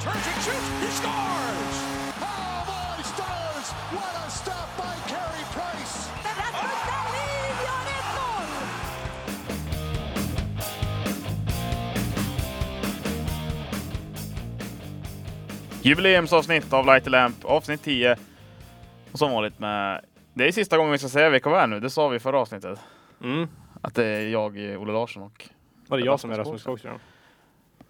turns and shoots. He scores! Oh, my stars! What a stop by Carey Price! Rasmus Dahlin gör ett mål! Jubileumsavsnitt av Light the Lamp, avsnitt 10. Och som vanligt med... Det är sista gången vi ska säga vilka vi är nu, det sa vi i förra avsnittet. Mm. Att det är jag, eh, Olle Larsson och... Var det jag som är Rasmus Rasmus Skogström?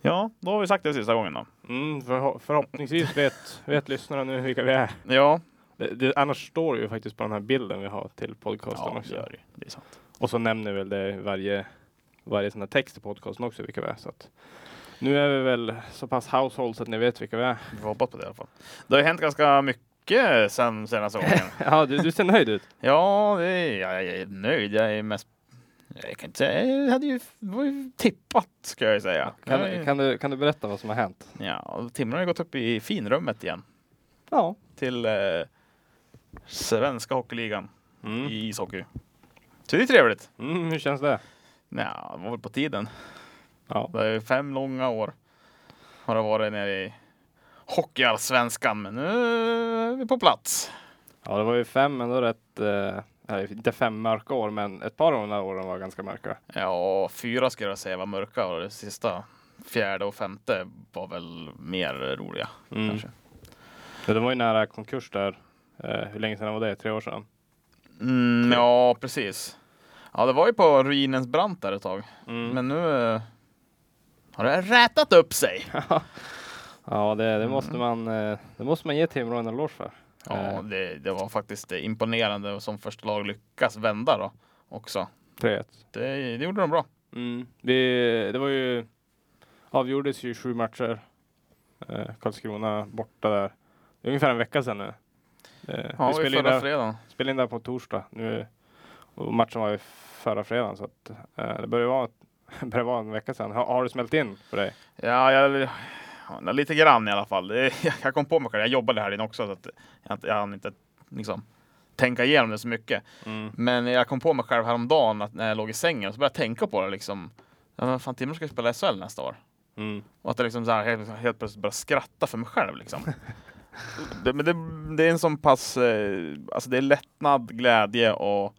Ja, då har vi sagt det sista gången då. Mm, förho- förhoppningsvis vet, vet lyssnarna nu vilka vi är. Ja, Det, det, annars står det ju faktiskt på den här bilden vi har till podcasten ja det också. gör det. Det är sant. Och så nämner väl det i varje, varje sån här text i podcasten också vilka vi är. Så att, nu är vi väl så pass household så att ni vet vilka vi är. Vi får hoppas på det i alla fall. Det har ju hänt ganska mycket sen senaste gången. Ja, du, du ser nöjd ut. Ja, det är, jag, jag är nöjd. Jag är mest... Jag kan inte säga... Jag hade ju, var ju tippat, ska jag ju säga. Kan, kan, du, kan du berätta vad som har hänt? Ja, Timrå har ju gått upp i finrummet igen. Ja. Till eh, svenska hockeyligan Mm. i ishockey. Så det är trevligt. Mm, hur känns det? Ja, det var väl på tiden. Ja. Det är ju fem långa år har det varit nere i Hockeyallsvenskan. Men nu är vi på plats. ja, det var ju fem ändå rätt, eh, nej, inte fem mörka år, men ett par av de där åren var ganska mörka. Ja, fyra skulle jag säga var mörka och det sista fjärde och femte var väl mer roliga. Mm. Kanske. Ja, det var ju nära konkurs där. Eh, hur länge sedan var det? Tre år sedan? Mm, ja, precis. Ja, det var ju på ruinens brant där ett tag. Mm. Men nu eh, har det rätat upp sig. Ja, det, det, måste man, eh, det måste man ge Timrå en eloge för. Ja, det, det var faktiskt eh, imponerande som första lag lyckas vända då också. 3-1. Det, det gjorde de bra. Mm. Det, det var ju, avgjordes ju sju matcher. Eh, Karlskrona borta där. Det är ungefär en vecka sedan nu. Eh, Ja, vi spelade vi in, förra där, fredagen. spelade in där på torsdag. Nu, och matchen var ju förra fredagen så att, eh, det börjar vara, börjar vara en vecka sedan. Har, har det smält in för dig? Ja, jag, ja, lite grann i alla fall. Det- Jag kom på mig själv, jag jobbade här inne också så att jag, inte- jag hann inte liksom, tänka igenom det så mycket. Mm, Men jag kom på mig själv häromdagen att när jag låg i sängen så började jag tänka på det liksom. Ja, men fan, Timrå ska ju spela SHL nästa år. Mm. Och att jag liksom så här helt, helt plötsligt börjar skratta för mig själv liksom. det, men det, det är en sån pass, eh, alltså det är lättnad, glädje och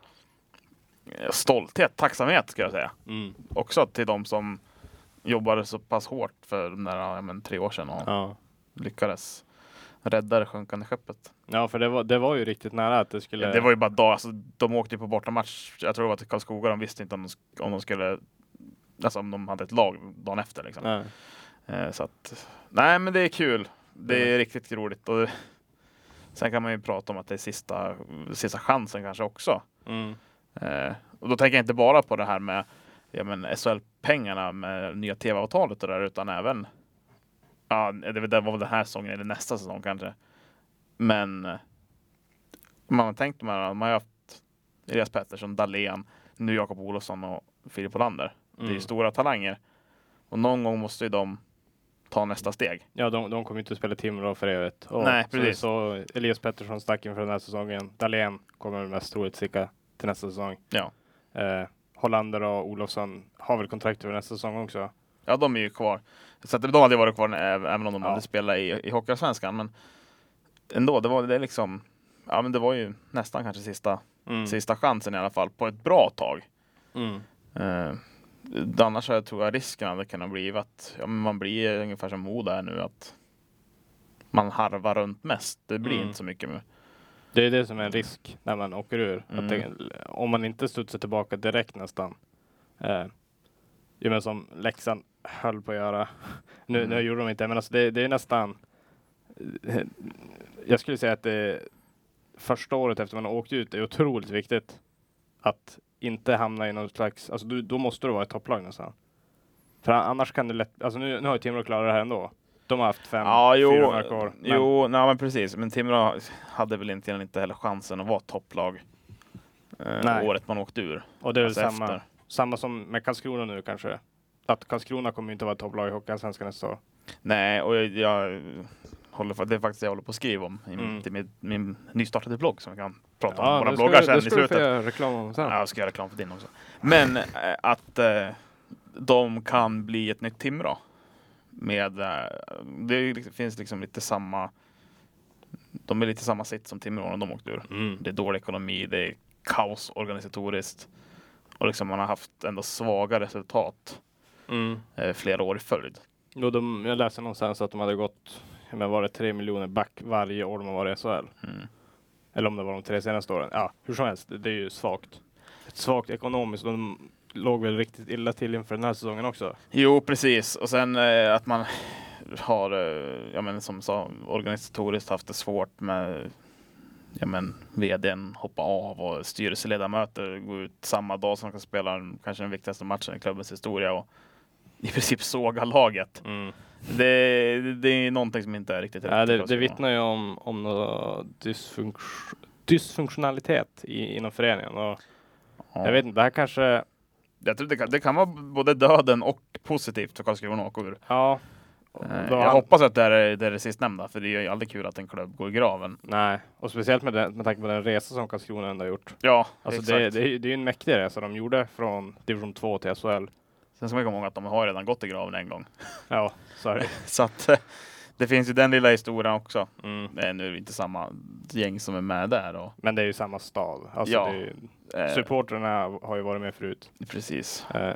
eh, stolthet, tacksamhet ska jag säga. Mm. Också till de som jobbade så pass hårt för de där, ja, men, tre år sedan och Ja. lyckades rädda det sjunkande skeppet. ja, för det var, det var ju riktigt nära att det skulle... Det var ju bara dag, alltså, de åkte ju på bortamatch, jag tror det var till Karlskoga, de visste inte om de, sk- om de skulle, alltså om de hade ett lag dagen efter liksom. Nej. Eh, Så att, nej men det är kul. Det är Mm. riktigt roligt. Och det, sen kan man ju prata om att det är sista, sista chansen kanske också. Mm. Eh, och då tänker jag inte bara på det här med ja, men SHL-pengarna med nya tv-avtalet och det där, utan även ja, det, var- det var väl den här säsongen eller nästa säsong kanske. Men eh, man har tänkt på det här, man har ju haft Elias Pettersson, Dahlén, nu Jakob Olofsson och Filip Olander. Det är ju Mm. stora talanger. Och någon gång måste ju de ta nästa steg. Ja, de, de kommer ju inte att spela Timrå för evigt. Och Nej, så- precis. Så, Elias Pettersson stack inför den här säsongen. Dahlén kommer mest troligt sticka till nästa säsong. Ja. Eh, Hollander och Olofsson har väl kontrakt över nästa säsong också? Ja, de är ju kvar. Så att de hade ju varit kvar ä- även om de Ja. hade spelat i, i Hockeyallsvenskan. Men ändå, det var det är liksom. Ja, men det var ju nästan kanske sista, Mm. sista chansen i alla fall på ett bra tag. Mm. Eh, annars så tror jag risken hade kunnat bli att ja, men man blir ungefär som Moda är nu, att man harvar runt mest. Det blir Mm. inte så mycket. Med. Det är det som är en risk när man åker ur. Mm. Att det, om man inte studsar tillbaka direkt nästan. Eh, ju men som Leksand höll på att göra. Nu, Mm. nu gjorde de inte men alltså det, det är nästan. eh, Jag skulle säga att det första året efter man har åkt ut är otroligt viktigt. Att inte hamna i någon slags, alltså du, då måste du vara ett topplag nästan. För an- annars kan du lätt, alltså nu, nu har ju Timrå klarat det här ändå. De har haft fem, Ja, jo, eh, fyra mörka år. men- jo nej, men precis. Men Timrå hade väl egentligen inte heller chansen att vara topplag eh, Nej. året man åkte ur. Och det är väl Alltså samma, efter. samma som med Karlskrona nu kanske. Att Karlskrona kommer ju inte vara ett topplag i Hockeyallsvenskan nästa år. Nej, och jag, jag håller för, det är faktiskt det jag håller på att skriva om i Mm. till min, min nystartade blogg som vi kan prata om våra bloggar sen i slutet. göra reklam om sen. Ja, jag ska göra reklam för din också. Men eh, att eh, de kan bli ett nytt Timrå. Med, eh, det är ju liksom- finns liksom lite samma, de är lite samma sitt som Timrå när de åkte ur. Det är dålig ekonomi, det är kaos organisatoriskt. Och liksom man har haft ändå svaga resultat Mm. eh, flera år i följd. Jo, de, jag läste någonstans att de hade gått, men var det tre miljoner back varje år de har varit i SHL? Mm. Eller om det var de tre senaste åren. Ja, hur som helst, det, det är ju svagt. Ett svagt ekonomiskt. De låg väl riktigt illa till inför den här säsongen också. Jo, precis. Och sen eh, att man har, eh, ja men som sa, organisatoriskt haft det svårt med ja men vdn hoppa av och styrelseledamöter går ut samma dag som de ska spela den, kanske den viktigaste matchen i klubbens historia och i princip såga laget. Det, det är någonting som inte är riktigt Ja, det, rätt. det vittnar ju om, om någon dysfunktio- dysfunktionalitet i, inom föreningen. Och Ja. Jag vet inte, det här kanske... Jag tror det kan, det kan vara både döden och positivt för Karlskrona att åka ur. Ja. Eh, Då Jag han- hoppas att det är det, är det sistnämnda, för det är ju aldrig kul att en klubb går i graven. Nej, och speciellt med, den, med tanke på den resa som Karlskrona ändå har gjort. Ja, Alltså exakt. det, det, är ju- det är ju en mäktig resa de gjorde från division 2 till SHL. Sen ska man komma ihåg att de har redan gått i graven en gång. Ja, sorry. Så att eh, det finns ju den lilla historien också. Mm. Det är nu inte samma gäng som är med där. Och, Men det är ju samma stad. Alltså Ja. det är ju, eh, supporterna har ju varit med förut. precis. Eh,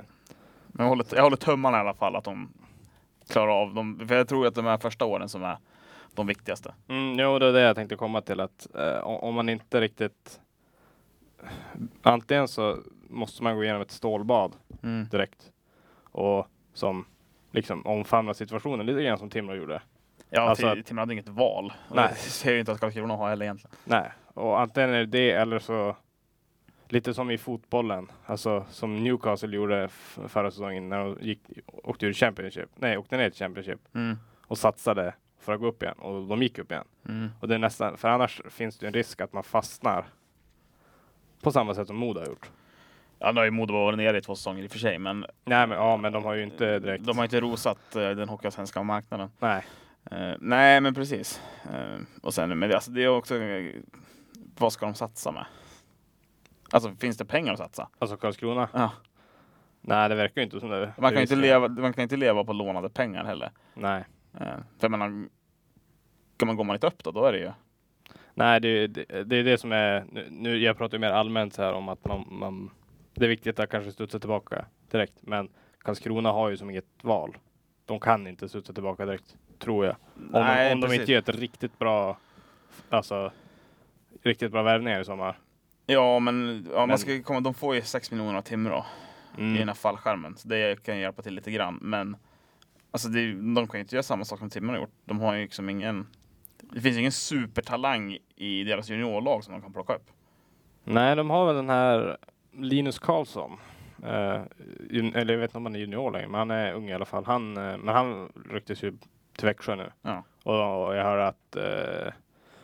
Men jag håller, jag håller tummarna i alla fall att de klarar av dem. För jag tror att de här första åren som är de viktigaste. Mm, jo, det är det jag tänkte komma till. att eh, o- Om man inte riktigt... Antingen så måste man gå igenom ett stålbad Mm. direkt och som liksom omfamnar situationen lite grann som Timrå gjorde. Ja, Alltså- Tim- Timrå hade inget val. Och Nej. Det ser ju inte att Karlskrona har heller egentligen. Nej, och antingen är det det eller så lite som i fotbollen, alltså som Newcastle gjorde f- förra säsongen när de gick, åkte ur Championship. Nej, åkte ner till Championship Mm. och satsade för att gå upp igen och de gick upp igen. Mm. Och det är nästan, för annars finns det ju en risk att man fastnar på samma sätt som Modo har gjort. Ja, nu har ju Modo varit nere i två säsonger i och för sig, men Nej, men ja, men de har ju inte direkt. Eh, de har inte rosat eh, den hockeyallsvenska marknaden. Nej, Eh, nej, men precis. Eh, och sen, men det, alltså, det är också, eh, vad ska de satsa med? Alltså finns det pengar att satsa? alltså Karlskrona. Ja. Nej, det verkar ju inte som det. Man, kan ju inte bevisligen. leva, man kan inte leva på lånade pengar heller. Nej, Eh, för jag menar, kan man gå man inte upp då, då är det ju... Nej, det, är ju- det, det är det som är. Nu, nu, jag pratar ju mer allmänt så här om att man, man det är viktigt att kanske studsa tillbaka direkt, men Karlskrona har ju som inget val. De kan inte studsa tillbaka direkt, tror jag. Om, Nej, de, om de precis. inte gör ett riktigt bra, alltså riktigt bra värvningar i sommar. Ja, men, Mm. ja, Man Men- ska ju komma, de får ju 6 miljoner av Timrå Mm. i den här fallskärmen. Så det kan ju hjälpa till lite grann. Men alltså, det, är ju- de kan ju inte göra samma sak som Timrå har gjort. De har ju liksom ingen... Det finns ju ingen supertalang i deras juniorlag som de kan plocka upp. Nej, de har väl den här Linus Karlsson. Eh, jun- eller jag vet inte om han är junior längre, men han är ung i alla fall. Han, eh, men han ryktes ju till Växjö nu. Ja. Och, jag hör att eh,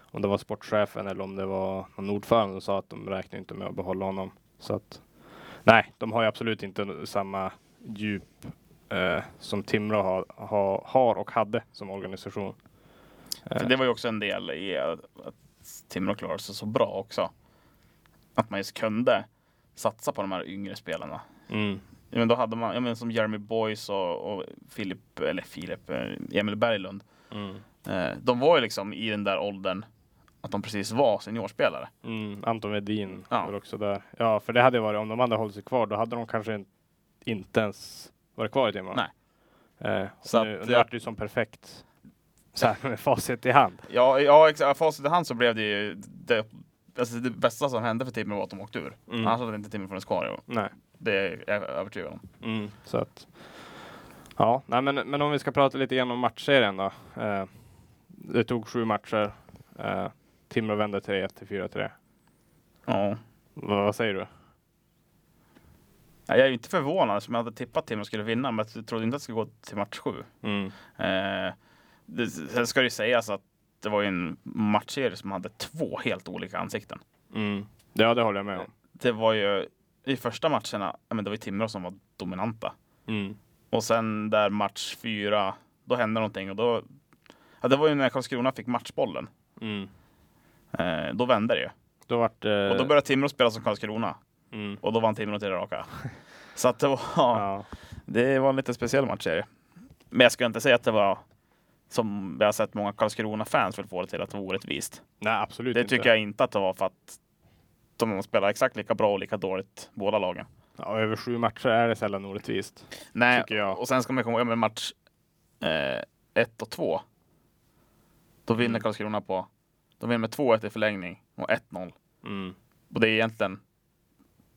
om det var sportchefen eller om det var någon ordförande som sa att de räknar inte med att behålla honom. Så att nej, de har ju absolut inte samma djup eh, som Timrå har, har, har och hade som organisation. För det var ju också en del i att att Timrå klarade sig så bra också. Att man just kunde satsa på de här yngre spelarna. Mm. Ja, men då hade man, ja, men som Jeremy Boyce och, och Filip, eller Filip, eh, Emil Berglund. Mm. Eh, de var ju liksom i den där åldern att de precis var seniorspelare. Mm, Anton Wedin Ja. var också där. Ja, för det hade varit, om de hade hållit sig kvar, då hade de kanske in- inte ens varit kvar i Timrå. Nej. Eh, Så så nu, att nu jag- vart det ju som perfekt, så här med facit i hand. Ja, ja exakt. Facit i hand så blev det ju det, alltså det bästa som hände för Timrå var att de åkte ur. Mm. Annars hade inte Timrå funnits kvar i år. Nej. Det är jag övertygad om. Så att, ja, nej, men, men om vi ska prata lite grann om matchserien då. Eh, det tog sju matcher. Eh, Timrå vände 3-1 till 4-3. Ja. Vad, vad säger du? Jag är ju inte förvånad som jag hade tippat Timrå skulle vinna, men jag trodde inte att det skulle gå till match sju. Mm. Eh, det, sen ska det ju sägas att det var ju en matchserie som hade två helt olika ansikten. Mm. Ja, det håller jag med om. Det var ju i första matcherna, ja, men det var ju Timrå som var dominanta. Mm. Och sen där match fyra, då hände någonting och då, ja, det var ju när Karlskrona fick matchbollen. Mm. Eh, då vände det ju. Då vart, eh, Och då började Timrå spela som Karlskrona. mm. Och då vann Timrå till det raka. Så att det var, ja. det var en lite speciell matchserie. Men jag skulle inte säga att det var som vi har sett många Karlskrona-fans vill få det till att det var orättvist. Nej, absolut Det inte. tycker jag inte att det var för att de spelar exakt lika bra och lika dåligt båda lagen. Ja, över sju matcher är det sällan orättvist. Nej, Tycker jag. och sen ska man komma ihåg med match 1 och 2. Då vinner Mm. Karlskrona på. De vinner med 2-1 i förlängning och 1-0. Mm. Och det är egentligen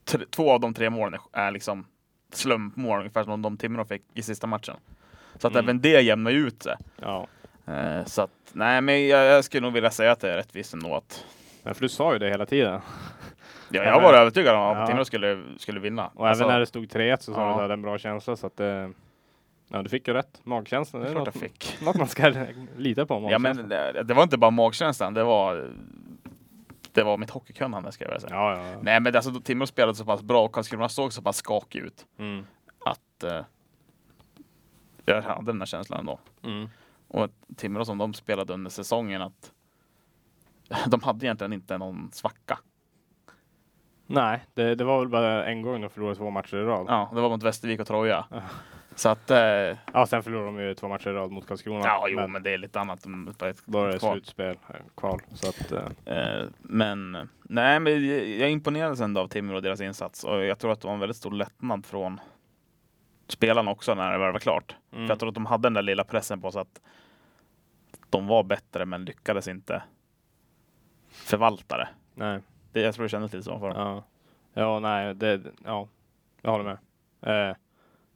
tre, två av de tre målen är- är liksom slumpmål, ungefär som de timmarna de fick i sista matchen. Så att Mm. även det jämnar ju ut sig. Ja. Eh, så att nej, men jag, jag skulle nog vilja säga att det är rättvist ändå. Att, Men för du sa ju det hela tiden. ja, Ja, jag men- var övertygad om att Ja. Timrå skulle, skulle vinna. Och Alltså, även när det stod 3-1 så sa du Ja. att du hade en bra känsla. Så att, eh, ja, du fick ju rätt. Magkänslan. Det det är är klart jag något, fick. något man ska lita på. Ja, men magkänslan. det, det var inte bara magkänslan, det var, det var mitt hockeykunnande ska jag vilja säga. Ja, ja. ja. Nej, men alltså, Timrå spelade så pass bra och Karlskrona såg så pass skakig ut Mm. att eh, jag hade den här känslan ändå. Mm. Och Timrå som de spelade under säsongen att de hade egentligen inte någon svacka. Nej, det, det var väl bara en gång de förlorade två matcher i rad. Ja, Ja, det var mot Västervik och Troja. Ja. Så att, eh, ja, sen förlorade de ju två matcher i rad mot Karlskrona. jo, men men, det är lite annat. än bara ett då är det kval. slutspel, eh, kval. Så att, eh, Eh, men eh, nej, men jag- jag imponerades ändå av Timrå och deras insats och jag tror att det var en väldigt stor lättnad från spelarna också när det väl var klart. mm. För jag tror att de hade den där lilla pressen på sig att de var bättre men lyckades inte förvalta det. Nej. det jag tror det kändes lite så för dem. Ja, ja nej, det, ja, jag håller med. Eh,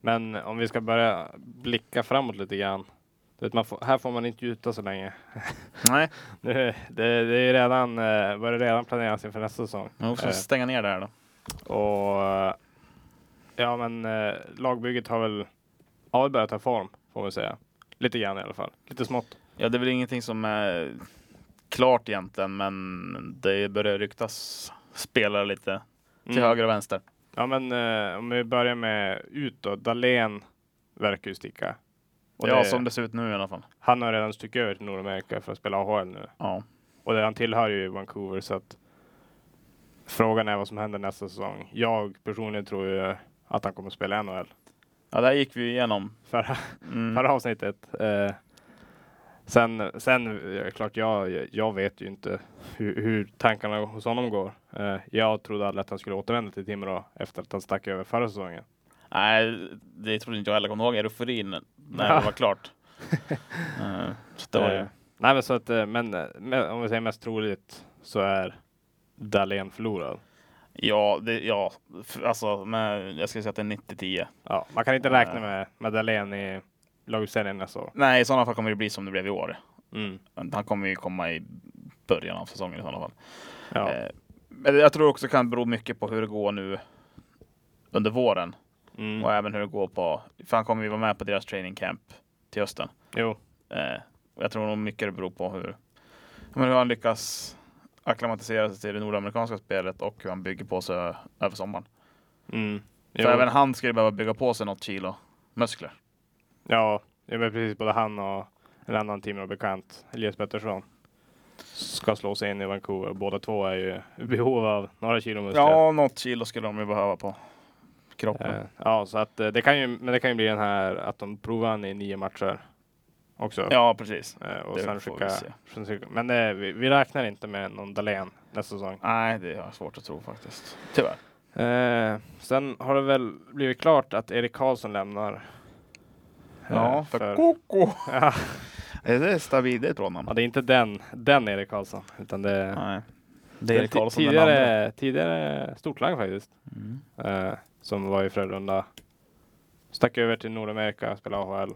men om vi ska börja blicka framåt lite grann. Du vet, man får, här får man inte gjuta så länge. Nej, Det, det, det är ju redan, eh, börjar redan planeras inför nästa säsong. men vi får Eh. stänga ner det här då. Och eh, ja, men eh, lagbygget har väl, har väl börjat ta form, får man säga. Lite grann i alla fall. Lite smått. Ja, det är väl ingenting som är klart egentligen, men det börjar ryktas spelare lite till Mm. höger och vänster. Ja, men eh, om vi börjar med ut då. Dahlén verkar ju sticka. Och ja, det- som det ser ut nu i alla fall. Han har redan stuckit över till Nordamerika för att spela AHL nu. Ja, Och han tillhör ju Vancouver så att frågan är vad som händer nästa säsong. Jag personligen tror ju att han kommer att spela i NHL. ja där gick vi ju igenom. Förra, Mm. förra avsnittet. Eh, sen, sen är det klart, jag, jag vet ju inte hur, hur tankarna hos honom går. Eh, jag trodde aldrig att han skulle återvända till Timrå efter att han stack över förra säsongen. Nej, det trodde inte jag heller. Kommer du ihåg euforin när Ja. det var klart? Eh, så det var Eh, ju... nej, men så att, eh, men, eh, men om vi säger mest troligt så är Dahlén förlorad. Ja, det, ja, f- alltså, men jag skulle säga att det är 90-10. Ja, man kan inte räkna med, med Dahlén i laguppställningen nästa år. Nej, i sådana fall kommer det bli som det blev i år. Mm. Han kommer ju komma i början av säsongen i sådana fall. Ja. Eh, Men jag tror också kan bero mycket på hur det går nu under våren Mm. och även hur det går på, för han kommer ju vara med på deras training camp till hösten. Jo. Eh, och jag tror nog mycket det beror på hur, ja, men hur han lyckas akklimatisera sig till det nordamerikanska spelet och hur han bygger på sig över sommaren. Mm. För jo. även han skulle behöva bygga på sig något kilo muskler. Ja, det var precis både han och en annan Timrå-bekant, Elias Pettersson, ska slå sig in i Vancouver. Båda två är ju i behov av några kilo muskler. Ja, något kilo skulle de ju behöva på kroppen. Eh, ja, så att eh, det kan ju, men det kan ju bli den här att de provar han i nio matcher också. Ja, precis. Eh, och det sen får vi skicka, se. sen skicka, men eh, vi, vi räknar inte med någon Dahlén nästa säsong. Nej, det har jag svårt att tro faktiskt. Tyvärr. Eh, sen har det väl blivit klart att Erik Karlsson lämnar. eh, Ja, för, Koko. Ja. Är det stabilt? Det är ett bra namn. Ja, det är inte den, den Erik Karlsson, utan det är, Nej. det Det är är Erik Karlsson den andra. tidigare, tidigare storklang faktiskt, Mm. eh, som var i Frölunda. Stack över till Nordamerika, spelade AHL.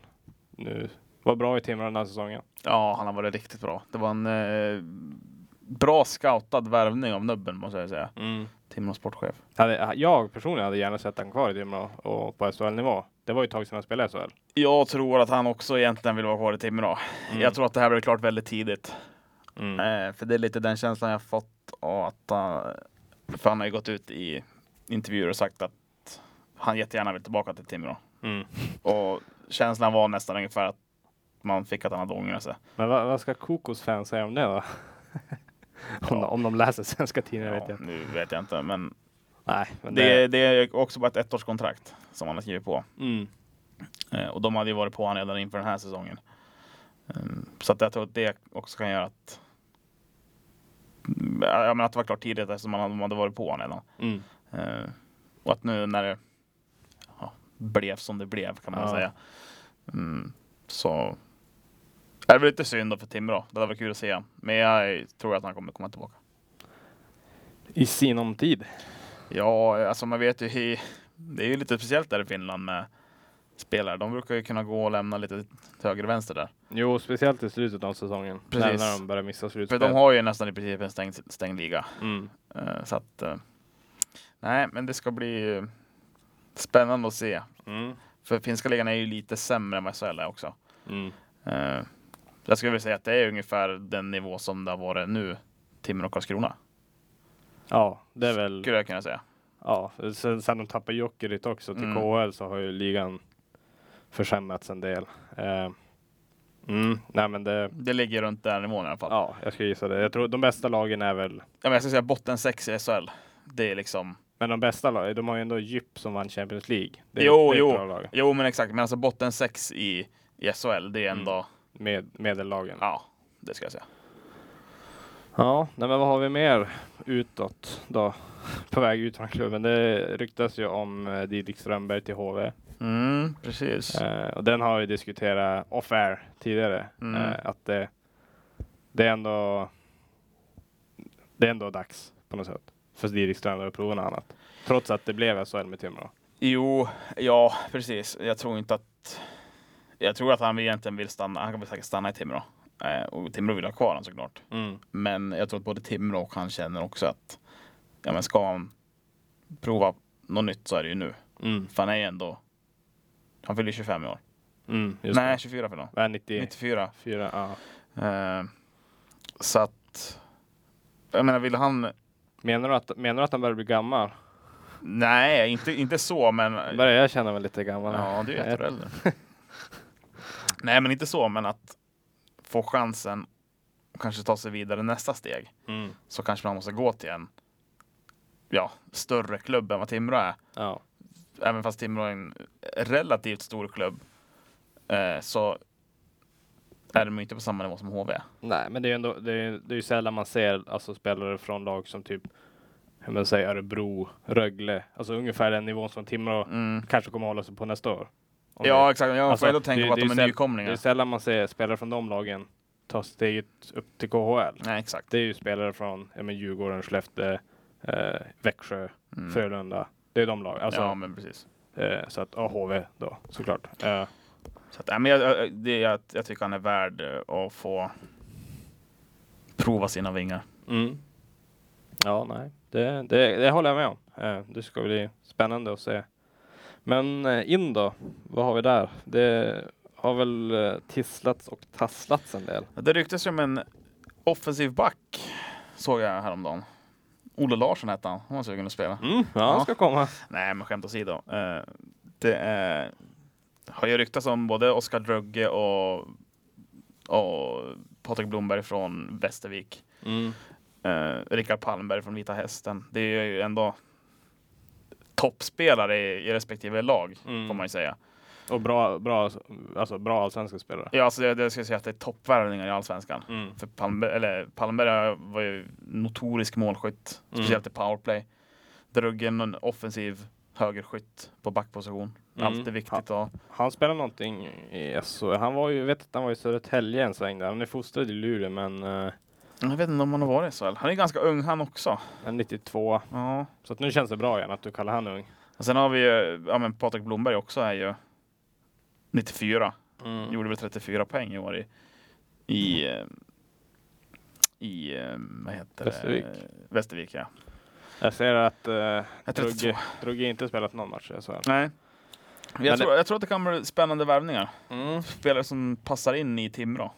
Nu var bra i Timrå den här säsongen. Ja, han har varit riktigt bra. Det var en eh, bra scoutad värvning av nubben måste jag säga. Mm. Timrå sportchef. Hade, jag personligen hade gärna sett han kvar i Timrå och på SHL-nivå. Det var ju ett tag sedan han spelade i SHL. Jag tror att han också egentligen vill vara kvar i Timrå. Jag tror att det här blir klart väldigt tidigt. Mm. Eh, för det är lite den känslan jag har fått av att han, för han har ju gått ut i intervjuer och sagt att han jättegärna vill tillbaka till Timrå. Mm. Och känslan var nästan ungefär att man fick att han hade ångrat sig. Men vad, vad ska Kokos fans säga om det då? om, de, om de läser svenska tidningar vet Ja, jag inte. nu vet jag inte, men Nej, men det, det är också bara ett ettårskontrakt som han har skrivit på. Mm. Eh, och de hade ju varit på honom redan inför den här säsongen. Ehm, så att jag tror att det också kan göra att Mm, ja, men att det var klart tidigt eftersom man hade- de hade varit på honom redan. Mm. Eh, och att nu när det ja, blev som det blev kan man Ja. säga. Mm, så är det väl lite synd då för Timrå. Det hade varit kul att se han. Men jag tror att han kommer komma tillbaka. I sinom tid. Ja, alltså man vet ju. i- Det är ju lite speciellt där i Finland med spelare. De brukar ju kunna gå och lämna lite till höger och vänster där. Jo, speciellt i slutet av säsongen. Precis. När de börjar missa För slutspel. de har ju nästan i princip en stängd, stängd liga. mm. Eh, så att, eh, nej, men det ska bli eh, spännande att se. Mm. För finska ligan är ju lite sämre än vad SHL är också. Mm. Eh, jag skulle vilja säga att det är ungefär den nivå som det har varit nu, Timrå och Karlskrona. Ja, det är väl... Skulle jag kunna säga. Ja, sen, sen de tappade Jokerit också till Mm. KHL så har ju ligan försämrats en del. Eh, mm, nej men det, Det ligger runt den nivån i alla fall. Ja. ja, jag ska gissa det. Jag tror de bästa lagen är väl, men jag skulle säga botten 6 i SHL. Det är liksom, men de bästa lagen, de har ju ändå Djup som vann Champions League. Det, är- Jo, det är ett jo. bra lag. jo men exakt, men alltså botten 6 i, i SHL, det är ändå, Med, medellagen. Ja, ja, det ska jag säga. nej men vad har vi mer utåt då? På väg ut från klubben. Det ryktas ju om eh, Didrik Strömberg till HV. Mm, precis. Eh, och den har vi diskuterat off-air tidigare. Mm. Eh, att det, det är ändå det är ändå dags på något sätt. För Didrik Strömberg att prova något annat. Trots att det blev SHL med Timrå. Jo, ja precis. Jag tror inte att... Jag tror att han egentligen vill stanna. Han kommer säkert stanna i Timrå. Eh, och Timrå vill ha kvar honom såklart. Mm, Men jag tror att både Timrå och han känner också att ja, men ska han prova något nytt så är det ju nu. Mm. För han är ju ändå... Han fyller 25 i år. Mm, just Nej, Nej. 24 fyller han. Det. Äh, 94. 94. Ja. Eh, så att... Jag menar, vill han... Menar, du att, menar du att han börjar bli gammal? Nej, inte, inte så, men... Börjar jag känna mig lite gammal? Ja, du är ett Jag- år äldre. Nej, men inte så, men att få chansen och kanske ta sig vidare nästa steg Mm. så kanske man måste gå till en ja, större klubb än vad Timrå är. Ja. Även fast Timrå är en relativt stor klubb eh, så är de ju inte på samma nivå som HV. Nej, men det är ju ändå, det är, det är ju sällan man ser alltså, spelare från lag som typ, hur man säger, Örebro, Rögle. Alltså ungefär den nivån som Timrå Mm. kanske kommer hålla sig på nästa år. Om Ja, det- exakt. Jag får ändå tänka Alltså, det- på att det de är säll- nykomlingar. Det är sällan man ser spelare från de lagen ta steget upp till KHL. Nej, exakt. Det är ju spelare från ja, men Djurgården, Skellefteå, eh, Växjö, Mm. Frölunda. Det är de lagen. Alltså, Ja, men precis. eh, så att, ja, HV då såklart. Eh, Så att, nej, men jag, jag- det, jag, jag tycker han är värd eh, att få prova sina vingar. Mm. Ja, nej, det, det, det håller jag med om. Eh, Det ska bli spännande att se. Men eh, in då, vad har vi där? Det har väl eh, tisslats och tasslats en del. Det ryktas ju om en offensiv back, såg jag häromdagen. Olle Larsson hette han, han var sugen att spela. ja, han ska komma. Nej, men skämt åsido. Eh, det är, har ju ryktats om både Oskar Drögge och, och Patrik Blomberg från Västervik. Mm, Eh, Rickard Palmberg från Vita Hästen. Det är ju ändå toppspelare i, i respektive lag, Mm. får man ju säga. Och bra, bra, alltså bra allsvenska spelare. Ja, alltså, jag, jag skulle säga att det är toppvärvningar i Allsvenskan. Mm. För Palmberg, eller Palmberg var ju notorisk målskytt, Mm. speciellt i powerplay. Druggen en offensiv högerskytt på backposition. Mm. Alltid viktigt. Och, Han spelar någonting i SHL. Han var ju, jag vet att han var i Södertälje en sväng där. Han är fostrad i Luleå, men eh, jag vet inte om han har varit så. Han är ganska ung han också. han är 92. Ja. Så att nu känns det bra igen att du kallar han ung. Och sen har vi ju, ja men Patrik Blomberg också är ju 94. Mm. Gjorde väl 34 poäng i år i, i, eh, i eh, vad heter Västervik. det? Västervik. ja. Jag ser att eh, Jag tror Drugge, Drugge inte spelat någon match i SHL. Nej. Men- Jag tror, jag tror att det kan bli spännande värvningar. Mm. Spelare som passar in i Timrå.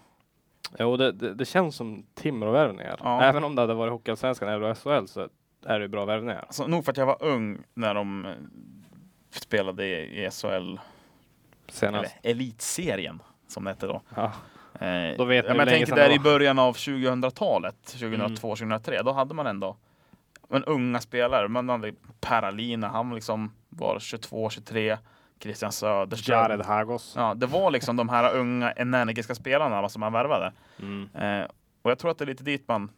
Jo, det, det, det känns som Timrå-värvningar. Ja. Även om det hade varit Hockeyallsvenskan eller SHL så är det ju bra värvningar. Alltså, nog för att jag var ung när de eh, spelade i i SHL, eller Senast. Elitserien som det hette då. Ja. Eh, Då vet ni ja, men hur jag länge tänkte sedan där det i var. början av 2000-talet, 2002, Mm. 2003, då hade man ändå men unga spelare. Man hade Per Alina, han liksom var 22, 23. Christian Söderström. Jared Hagos. Ja, det var liksom de här unga energiska spelarna va, som han värvade. Mm. Eh, och jag tror att det är lite dit man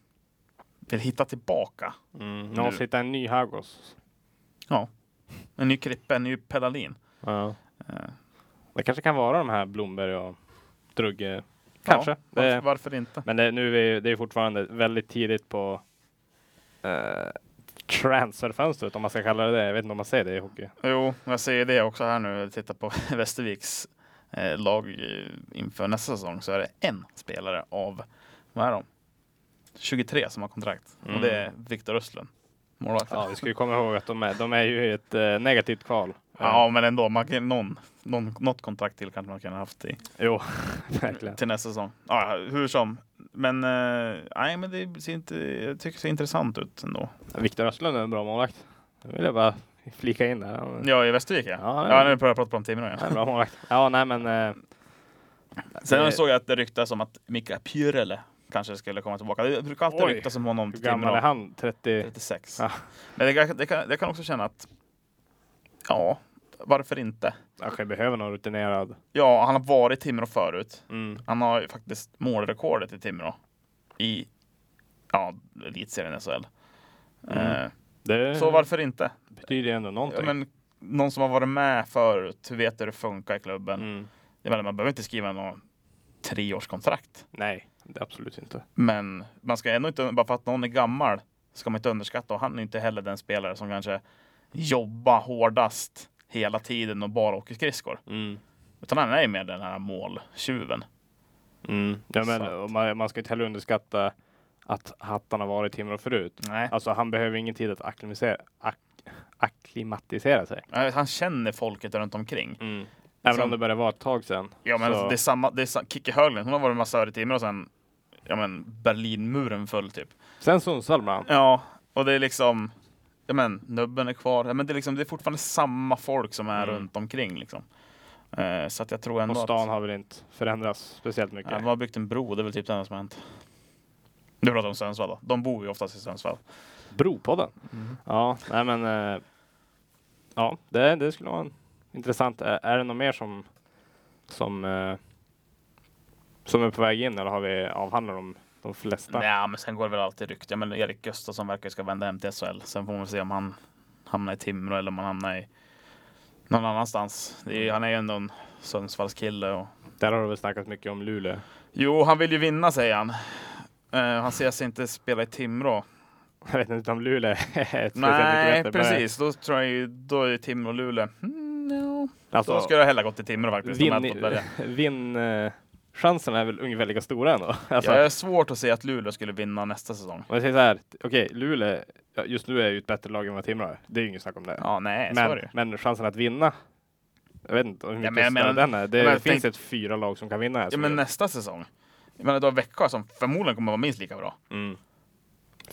vill hitta tillbaka. Mm. Nu måste hitta en ny Hagos. En ny Krippe, en ny Pedalin. Ja. Eh, Det kanske kan vara de här Blomberg och Drugge. Kanske. Ja, Det- varför, varför inte? Men det, nu är vi, det är fortfarande väldigt tidigt på eh, transferfönstret om man ska kalla det det. Jag vet inte om man säger det i hockey. Jo, jag ser det också här nu. Titta på Västerviks eh, lag eh, inför nästa säsong så är det en spelare av, vad är de? 23 som har kontrakt Mm. och det är Viktor Östlund, målvakten. Ja, vi Ja, ska ju komma ihåg att de är, de är ju i ett eh, negativt kval. men ändå, man kan, någon, någon, något kontrakt till kanske man kan ha haft i, Eh, Jo, verkligen. till nästa säsong. Ja, ja, hur som. Men, eh, nej, men det ser inte, jag tycker det ser intressant ut ändå. Viktor Östlund är en bra målvakt. Det vill jag bara flika in där. Han- Ja, i Västervik ja. Ja, Ja, det- nu börjar jag prata om Timrå igen. han är en bra målvakt. Ja, nej men. eh, Sen det- såg jag att det ryktas om att Mika Pyrele kanske skulle komma tillbaka. Det brukar alltid Oj, ryktas om honom hur till gammal Timrå. är han? 30? 36. Ja. Men det, kan- det, kan, det kan också känna att, ja, varför inte? Kanske behöver någon rutinerad. Ja, han har varit i Timrå förut. Mm. Han har ju faktiskt målrekordet i Timrå i, ja, elitserien SHL. Mm. Eh, Det så varför inte? betyder ju ändå Ja, någonting. men, någon som har varit med förut, vet hur det funkar i klubben. mm. Jag menar, man behöver inte skriva någon treårskontrakt. Nej, det är absolut inte. Men man ska ändå inte, bara för att någon är gammal, ska man inte underskatta. Och han är inte heller den spelare som kanske jobbar hårdast hela tiden och bara åker skridskor. Mm. Utan han är ju mer den här måltjuven. Mm. Ja, men, Sant. och man, man ska inte heller underskatta att Hattan har varit i Timrå förut. Nej. Alltså han behöver ingen tid att akklimatisera, ak, akklimatisera sig. Nej, Eh, Han känner folket runt omkring. Även Mm. Som- om det börjar vara ett tag sedan. Ja, men Så- alltså, det är samma, det är sa- Kikki Höglund, hon har varit med massa öre timmar och sen, ja men Berlinmuren föll typ. Sen Sundsvall brann. Ja, och det är liksom, ja men nubben är kvar. Ja, men det är liksom, det är fortfarande samma folk som är Mm. runt omkring liksom. Eh, så att jag tror ändå Och att- stan har väl inte förändrats speciellt mycket. Ja, de har byggt en bro, det är väl typ det enda som har hänt. Du pratar om Sundsvall då? De bor ju oftast i Sundsvall. Bropodden. Ja, nej men. eh, ja, det, det skulle vara en, intressant. Är, är det något mer som som eh, som är på väg in eller har vi avhandlat de, de flesta? Nej, men sen går det väl alltid rykt. Ja, men Erik Gustafsson verkar ju ska vända hem till SHL. Sen får man se om han hamnar i Timrå eller om han hamnar i någon annanstans. Det är, ju- han är ju ändå en Sundsvallskille. Och... Där har det väl snackats mycket om Luleå. Jo, han vill ju vinna säger han. Eh, han ser sig inte spela i Timrå. Jag vet inte om Luleå är speciellt Nej, mycket bättre. precis. Då tror jag ju, då är Timrå och Luleå. Mm, no. Men, alltså, Då skulle jag hellre gått till Timrå faktiskt. om jag hade fått välja. vinn, vinn eh, chansen är väl ungefär lika stora ändå. Alltså, Jag är svårt att se att Luleå skulle vinna nästa säsong. Om jag säger så här, okej, Luleå ja, just nu är ju ett bättre lag än vad Timrå är. Det är ju inget snack om det. Ja, nej, så är det ju. men, men chansen att vinna, jag vet inte hur mycket Ja, men jag större menar- den är. Det jag menar, finns tänk- ett fyra lag som kan vinna. här, Ja, som men gör- nästa säsong. Jag menar, du har Växjö som förmodligen kommer vara minst lika bra. mm.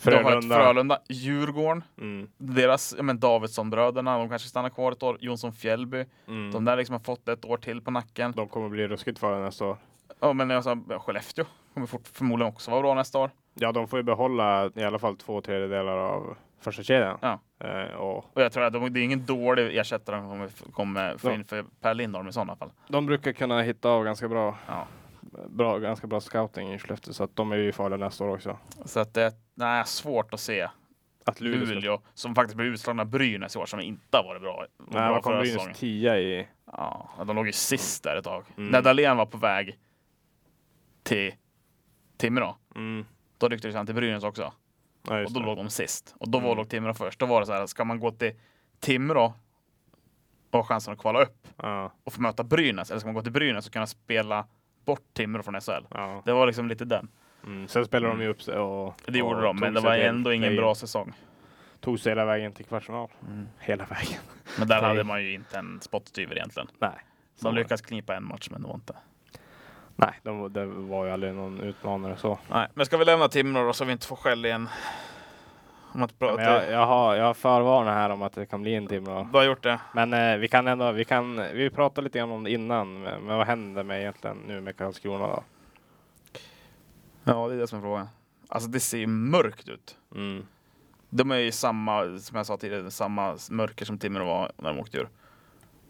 Du har Frölunda. ett Frölunda, Djurgården, Mm. deras, ja men Davidsson-bröderna, de kanske stannar kvar ett år. Jonsson Fjällby, Mm. de De, där liksom har fått ett år till på nacken. kommer bli ruskigt för nästa år. Ja, men jag sa, ja, Skellefteå kommer fort, förmodligen också vara bra nästa år. Ja, de får ju behålla i alla fall två tredjedelar av första kedjan. Ja. Eh, och Och jag tror att de, det är ingen dålig ersättare de kommer, kommer få Ja. in för Per Lindholm i sådana fall. de brukar kunna hitta av ganska bra, Ja. bra, ganska bra scouting i Skellefteå, så att de är ju farliga nästa år också. Så att det nej, svårt att se Att Luleå, ska- Luleå, som faktiskt blev utslagna av Brynäs i år, som inte har varit bra. Nej, bra vad kom förra Brynäs säsongen. tia i... Ja, de låg ju sist där ett tag. Mm. När Dahlén var på väg till Timrå, Mm. då rycktes han till Brynäs också. Ja, Och just då det. låg de sist. Och då var Mm. låg Timrå först. Då var det så här, ska man gå till Timrå och ha chansen att kvala upp Ja, och få möta Brynäs? Eller ska man gå till Brynäs och kunna spela bort Timrå från SHL? ja. Det var liksom lite den. Mm. Sen spelade de ju upp sig och... Det gjorde och de, men det tog var sig till ändå ingen play-in. bra säsong. Tog sig hela vägen till kvartsfinal. Hela vägen. Men där Nej. hade man ju inte en spottstyver egentligen. Nej. Så De var det. lyckades knipa en match, men det var inte. Nej, de, var- det var ju aldrig någon utmanare så. Nej, men ska vi lämna Timrå då så vi inte får skäll igen? Om att bra, Men jag, jag har, jag har förvarnat här om att det kan bli en timme. Du har gjort det. Men eh, vi kan ändå, vi kan, vi pratade lite grann om det innan. Men men vad händer med egentligen nu med Karlskrona då? Ja, det är det som är frågan. Alltså det ser ju mörkt ut. Mm. De är ju samma, som jag sa tidigare, samma mörker som Timrå var när de åkte ur.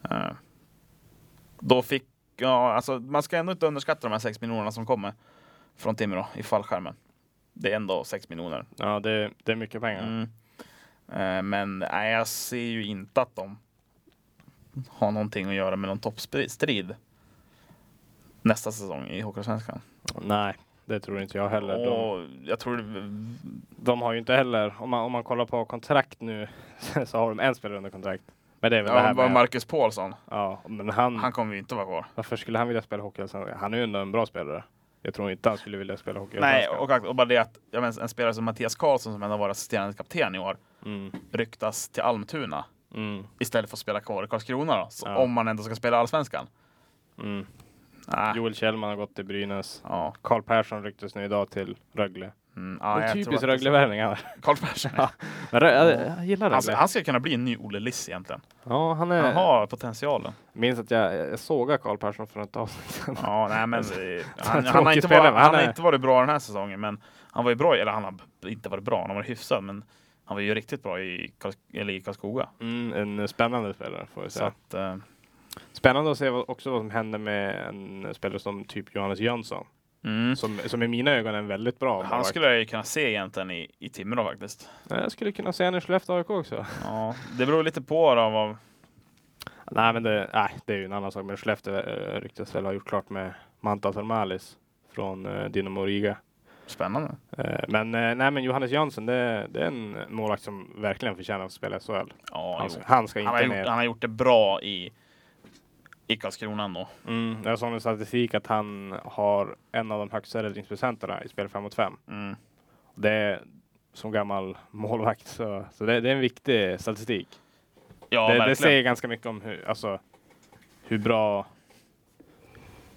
Eh, Då fick, ja, alltså, man ska ändå inte underskatta de här 6 miljonerna som kommer från Timrå i fallskärmen. Det är ändå 6 miljoner. Ja, det, det är mycket pengar. Mm. Eh, Men nej, jag ser ju inte att de har någonting att göra med någon toppstrid nästa säsong i Hockeyallsvenskan. Nej, det tror inte jag heller. De, Och jag tror de har ju inte heller, om man, om man kollar på kontrakt nu, så har de en spelare under kontrakt. Men det är väl det ja, här var med, Mm. Marcus Paulsson. ja, men han, Han kommer ju inte vara kvar. varför skulle han vilja spela hockey? Alltså, Han är ju ändå en bra spelare. Jag tror inte han skulle vilja spela hockey. Nej, och, och bara det att jag menar, en spelare som Mattias Karlsson som ändå var assisterande kapten i år Mm, ryktas till Almtuna mm, istället för att spela kvar i Karlskrona då, så, Ja. om man ändå ska spela Allsvenskan. mm. Nej. Joel Kjellman har gått till Brynäs. Ja, Carl Persson ryktas nu idag till Rögle. mm, ja, en jag tror typisk att- Röglevärvning. han är. Karl Persson. Ja. Alltså, Men Rö- jag- Jag gillar Han, Rögle. han skulle kunna bli en ny Olle Liss egentligen. Ja, han Han är... har potentialen. Minns att jag, jag sågade Carl Persson för ett avsnitt sedan. Ja, nej, men, eh, han, han, har Tråkig inte spelare, varit, men han han har är- inte varit bra den här säsongen, men han var ju bra, i- eller han har b- inte varit bra, han har varit hyfsad, men han var ju riktigt bra i, Karls, eller i Karlskoga. Mm, en spännande spelare får jag Så säga. att, eh, Spännande att se vad, också vad som händer med en spelare som typ Johannes Jönsson. mm. Som, som i mina ögon är en väldigt bra Han målvakt. skulle jag ju kunna se egentligen i, i Timrå faktiskt. Ja, Jag skulle kunna se honom i Skellefteå AIK också. Ja, det beror lite på då, vad, nej, men det, nej, det är ju en annan sak. Men Skellefteå eh, ryktas väl ha gjort klart med Manta Thermalis från eh, Dynamo Riga. spännande. Eh, men, eh, nej, men Johannes Jönsson, det, det är en målvakt som verkligen förtjänar att spela i SHL. Ja, Han, jo. ska- han ska han, har inte gjort, ner. han har gjort det bra i, i Karlskrona ändå. Mm, jag såg en statistik att han har en av de högsta räddningsprocenterna i spel 5 mot 5. Mm. Det är som gammal målvakt så, så det, det är en viktig statistik. Ja, det, det verkligen. säger ganska mycket om hur, alltså, hur bra...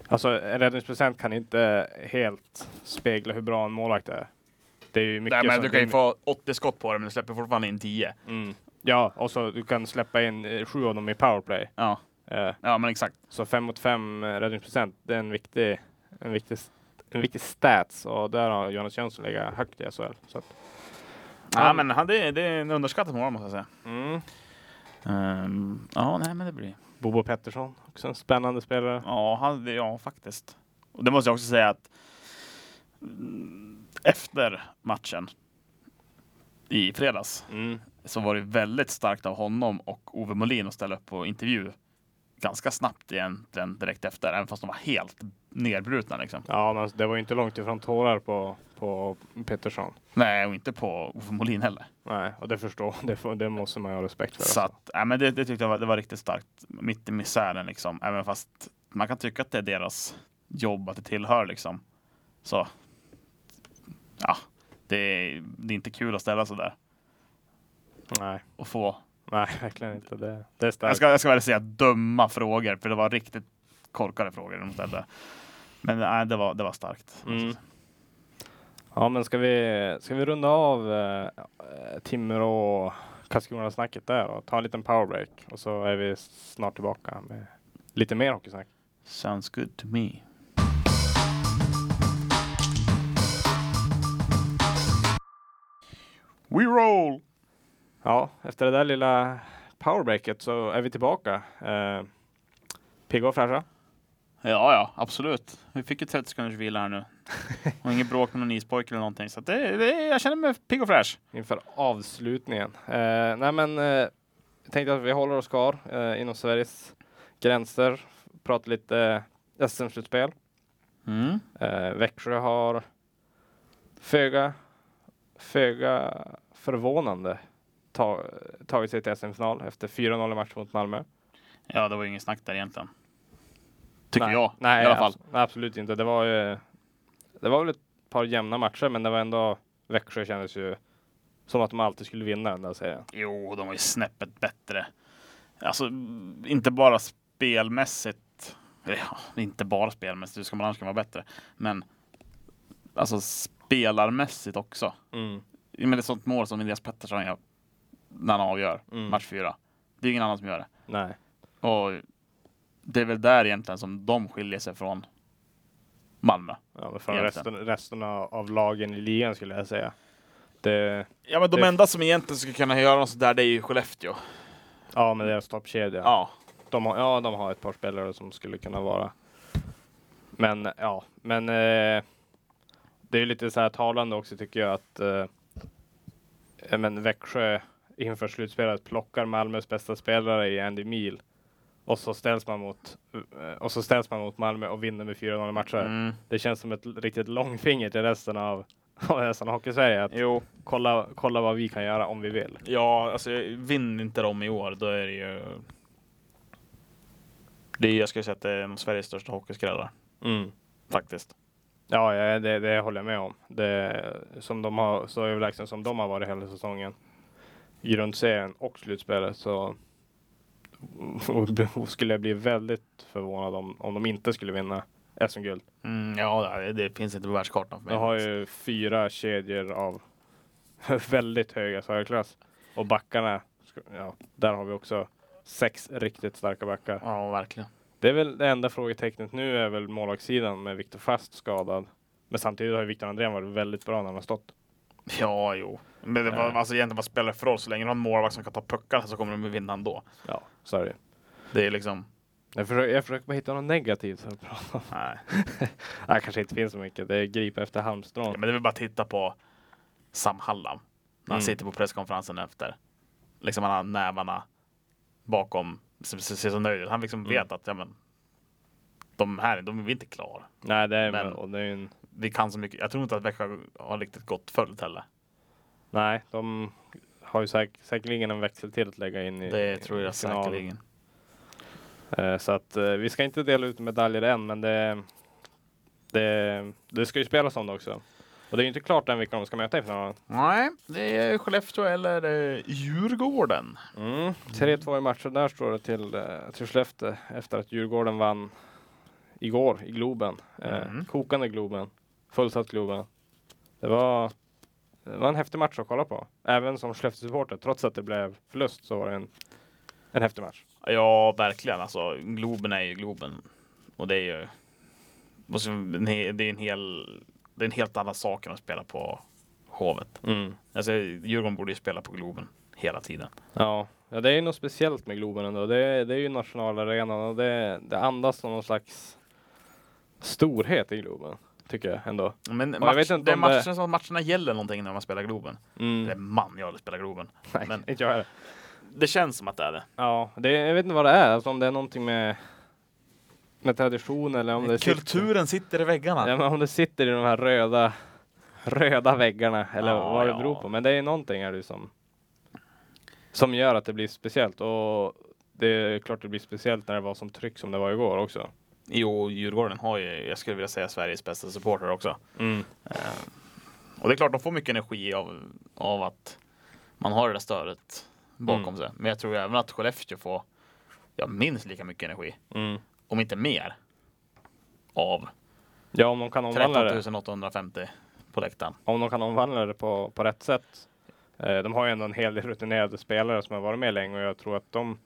Alltså en räddningsprocent kan inte helt spegla hur bra en målvakt är. Det är ju mycket Nej, men som- du kan ju få 80 skott på det, men du släpper fortfarande in 10. Mm. Ja, och så du kan släppa in eh, sju av dem i powerplay. Ja, Eh, ja men exakt. så fem mot fem eh, räddningsprocent, det är en viktig, en viktig, st- en viktig stats och där har Jonas Jönsson legat högt i SHL. Så att, Ja, men han, det, är- det är en underskattad målvakt måste jag säga. mm. Ehm, ja, nej, men det blir. Bobo Pettersson, också en spännande spelare. Ja, han, det- ja, faktiskt. Och det måste jag också säga att mm, efter matchen i fredags Mm. så var det väldigt starkt av honom och Ove Molin att ställa upp på intervju ganska snabbt egentligen direkt efter, även fast de var helt nedbrutna liksom. Ja, men alltså, det var ju inte långt ifrån tårar på, på Pettersson. Nej, och inte på Ove Molin heller. Nej, och det förstår det, får- det måste man ju ha respekt för. Så Alltså. att, nej, men det, det tyckte jag var, det var riktigt starkt. Mitt i misären liksom. Även fast man kan tycka att det är deras jobb, att det tillhör liksom. Så, ja, det är, det är inte kul att ställa sig där Nej, och få. nej, verkligen inte. Det, det är Jag starkt. ska, jag ska väl säga dumma frågor, för det var riktigt korkade frågor de ställde. Men nej, det var, det var starkt. Mm. Ja, men ska vi, ska vi runda av eh, Timrå och Karlskrona-snacket där och ta en liten powerbreak och så är vi snart tillbaka med lite mer hockeysnack. Sounds good to me. We roll! Ja, efter det där lilla powerbreaket så är vi tillbaka. Eh, Pigga och fräscha. Ja, ja, absolut. Vi fick ju 30 sekunders vila här nu. Och inget bråk med någon ispojke eller någonting. Så att det, det, jag känner mig pigg och fräsch. inför avslutningen. Eh, nej men, eh, jag tänkte att vi håller oss kvar eh, inom Sveriges gränser. Pratar lite eh, SM-slutspel. Mm. Eh, Växjö har föga, föga förvånande ta, tagit sig till SM-final efter 4-0 i match mot Malmö. Ja, det var ju ingen snack där egentligen. Tycker nej, jag nej, alltså- i alla fall. abs- nej, absolut inte. Det var, ju, det var väl ett par jämna matcher, men det var ändå Växjö kändes ju som att de alltid skulle vinna den där serien. Jo, de var ju snäppet bättre. Alltså, mm, inte bara spelmässigt. Eller, Ja, inte bara spelmässigt. Hur ska man annars kunna vara bättre? Men alltså spelarmässigt också. Mm. Men det är sånt mål som Elias Pettersson gör när han avgör Mm. match fyra. Det är ingen annan som gör det. Nej. Och det är väl där egentligen som de skiljer sig från Malmö. Ja, men från Egentligen. resten, resten av, av lagen i ligan skulle jag säga. Det, Ja, men de Det- enda som egentligen skulle kunna göra något sådär, det är ju Skellefteå. ja, med deras toppkedja. Ja, De har, ja, de har ett par spelare som skulle kunna vara. Men ja, men eh, det är lite så här talande också tycker jag att eh, ja, men Växjö inför slutspelet plockar Malmös bästa spelare i Andy Mil och så ställs man mot eh, och så ställs man mot Malmö och vinner med 4-0 matcher. Mm. Det känns som ett l- riktigt långfinger till resten av, av resten av Hockeysverige. Att Jo, kolla, kolla vad vi kan göra om vi vill. ja, alltså vinner inte de i år, då är det ju. Det är, jag skulle säga att det är en av Sveriges största hockeyskrällar faktiskt. Ja, ja, det, det håller jag med om. Det, som de har, så överlägsen som de har varit hela säsongen. Grundserien och slutspelet så skulle jag bli väldigt förvånad om, om de inte skulle vinna SM-guld. Mm, ja, det, det finns inte på världskartan. För De mig. har ju fyra kedjor av väldigt höga särklass. Och backarna, sk- ja, där har vi också sex riktigt starka backar. Ja, verkligen. Det är väl det enda frågetecknet nu är väl målvaktssidan med Viktor Fast skadad. Men samtidigt har ju Viktor Andrén varit väldigt bra när han har stått. Ja, jo. Men det var, Ja. alltså, egentligen vad spelar det för roll? Så länge de har en målvakt som kan ta puckarna så kommer de att vinna ändå. Ja, så är det. Det är liksom, Jag försöker, jag försöker bara hitta något negativt att prata om. nej. Det kanske inte finns så mycket. Det är gripa efter halmstrån. Ja, men det är väl bara att titta på Sam Hallam. När han Mm. sitter på presskonferensen efter. Liksom han har nävarna bakom. Ser, ser ser så nöjd ut. Han liksom Mm. vet att ja, men, de här, de är vi inte klara. Nej, det är, Men- och det är ju en, Vi kan så mycket. Jag tror inte att Växjö har riktigt gott följt heller. Nej, de har ju säk, säkerligen en växel till att lägga in i Det tror jag i finalen. säkerligen. Eh, Så att eh, vi ska inte dela ut medaljer än, men det, det, det ska ju spelas om det också. Och det är ju inte klart än vilka de ska möta i finalen. Nej, det är Skellefteå eller eh, Djurgården. Mm. 3-2 i matchen där står det till, eh, till Skellefteå efter att Djurgården vann igår i Globen. Eh, Mm. Kokande Globen. Fullsatt Globen. Det var, det var en häftig match att kolla på. Även som Skellefteå-supporter. Trots att det blev förlust så var det en, en häftig match. Ja, verkligen. Alltså, Globen är ju Globen. Och det är ju... och så- Det är en, hel, det är en helt annan sak än att spela på Hovet. Alltså, Djurgården borde ju spela på Globen hela tiden. Ja. ja, det är ju något speciellt med Globen ändå. Det, det är ju nationalarenan och det, det andas någon slags storhet i Globen. Tycker jag ändå. Men jag match, vet inte det är om det- matchen, som matcherna gäller någonting när man spelar Globen. Det är man, jag aldrig spelar Globen. Mm. Nej, men- inte jag heller. Det känns som att det är det. Ja, det, jag vet inte vad det är. Alltså om det är någonting med, med tradition eller om det, sitter, Kulturen sitter i väggarna. ja, men om det sitter i de här röda, röda väggarna eller Ja, vad det ja. beror på. Men det är någonting här liksom, som gör att det blir speciellt. Och det är klart det blir speciellt när det var som tryck som det var igår också. Jo, Djurgården har ju, jag skulle vilja säga, Sveriges bästa supportrar också. Eh, Och det är klart, de får mycket energi av, av att man har det där stödet bakom Mm. sig. Men jag tror även att Skellefteå får ja, minst lika mycket energi, Mm. om inte mer, av Ja, om de kan omvandla det, 13 850 på läktaren. om de kan omvandla det på, på rätt sätt. Eh, de har ju ändå en hel del rutinerade spelare som har varit med länge och jag tror att de,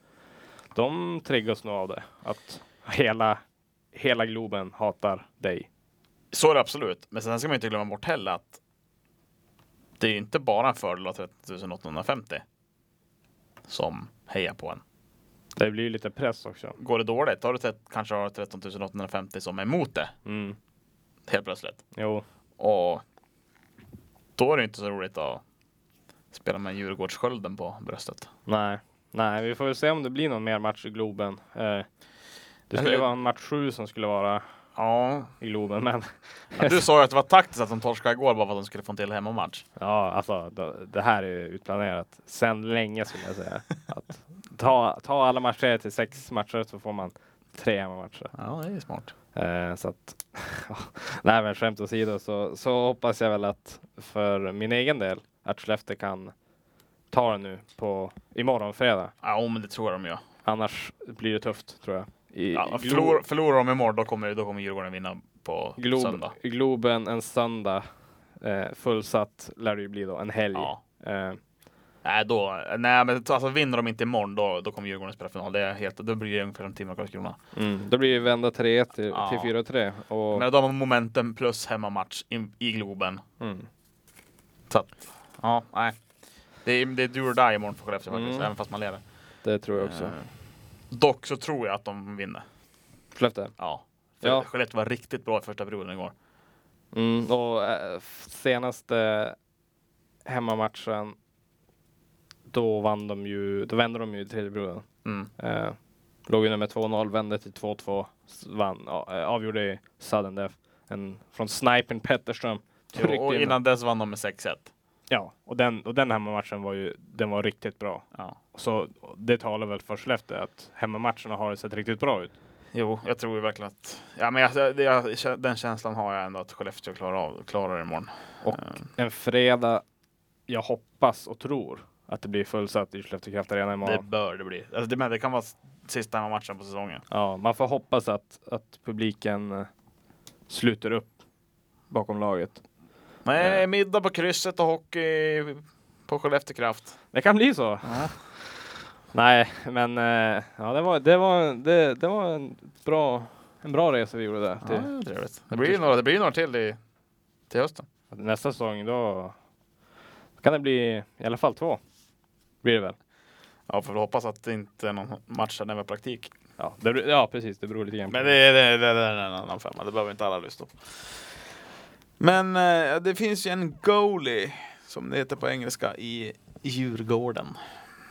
de triggas nog av det. Att hela, hela Globen hatar dig. Så är det absolut. Men sen ska man ju inte glömma bort heller att det är ju inte bara en fördel av 13 850 som hejar på en. Det blir ju lite press också. Går det dåligt, har du tret- kanske har 13 850 som är emot det Mm. helt plötsligt. Jo, Och då är det inte så roligt att spela med Djurgårdsskölden på bröstet. nej. Nej, vi får väl se om det blir någon mer match i Globen. Eh, det skulle ju vara en match sju som skulle vara Ja. i Globen, men Du sa ju att det var taktiskt att de torskade igår bara för att de skulle få en till hemmamatch. Ja, alltså det- det här är ju utplanerat sedan länge skulle jag säga. Att ta, ta alla matcher till sex matcher så får man tre hemmamatcher. Ja, det är smart. Eh, så att, nej men skämt åsido så, så hoppas jag väl att för min egen del att Skellefteå kan ta det nu på imorgon fredag. Ja, men det tror jag de gör. Annars blir det tufft tror jag. I, Ja, i Glo- förlor, förlorar de imorgon, då kommer, då kommer Djurgården vinna på Glob, söndag. Globen en söndag eh, fullsatt lär det ju bli då, en helg. Ja. Eh, Nej, då, nej, men alltså vinner de inte imorgon, då, då kommer Djurgården spela final. Det är helt, då blir det ungefär en timme kvar i Karlskrona. Mm. Då blir det vända 3 till, Ja. till 4-3. Och, Men då har man momentum plus hemmamatch i, i Globen. mm. Så att, ja, nej. Det är, det är do or die imorgon för Skellefteå faktiskt, Mm. även fast man leder. Det tror jag också. Eh, Dock så tror jag att de vinner. Skellefteå. Ja. För Ja. Skellefteå var riktigt bra i första perioden igår. Mm, Och eh, f- senaste hemmamatchen, då vann de ju, då vände de ju i tredje perioden. Mm. Eh, låg ju nummer 2-0, vände till 2-2, s- vann, ja, eh, avgjorde i sudden death. En från snipern Petterström. Jo, och in- innan dess vann de med 6-1. Ja, och den, och den hemmamatchen var ju, den var riktigt bra. Ja. Så det talar väl för Skellefteå att hemmamatcherna har sett riktigt bra ut. Jo, jag tror ju verkligen att... Ja, men jag, det- jag, den känslan har jag ändå att Skellefteå klarar, av, klarar det imorgon. Eh, Och en fredag, jag hoppas och tror att det blir fullsatt i Skellefteå Kraft Arena imorgon. Det bör det bli. Alltså, det, men det kan vara s- sista matchen på säsongen. Ja, man får hoppas att, att publiken eh, sluter upp bakom laget. Nej, Eh, middag på krysset och hockey på Skellefteå Kraft. Det kan bli så. Nej, men eh, ja, det, var, det, var, det, det var en bra, en bra resa vi gjorde där. Ja, Till, det, trevligt. det blir ju några, det blir ju några till i, till hösten. Nästa säsong då kan det bli i alla fall två. Blir det väl? Ja, får väl hoppas att det inte är någon match där det är praktik. Ja, det, beror- ja precis. Det beror lite grann på. Men det, det, det, det är en annan femma, det behöver inte alla lyssna på. Men eh, det finns ju en goalie, som det heter på engelska, i Djurgården.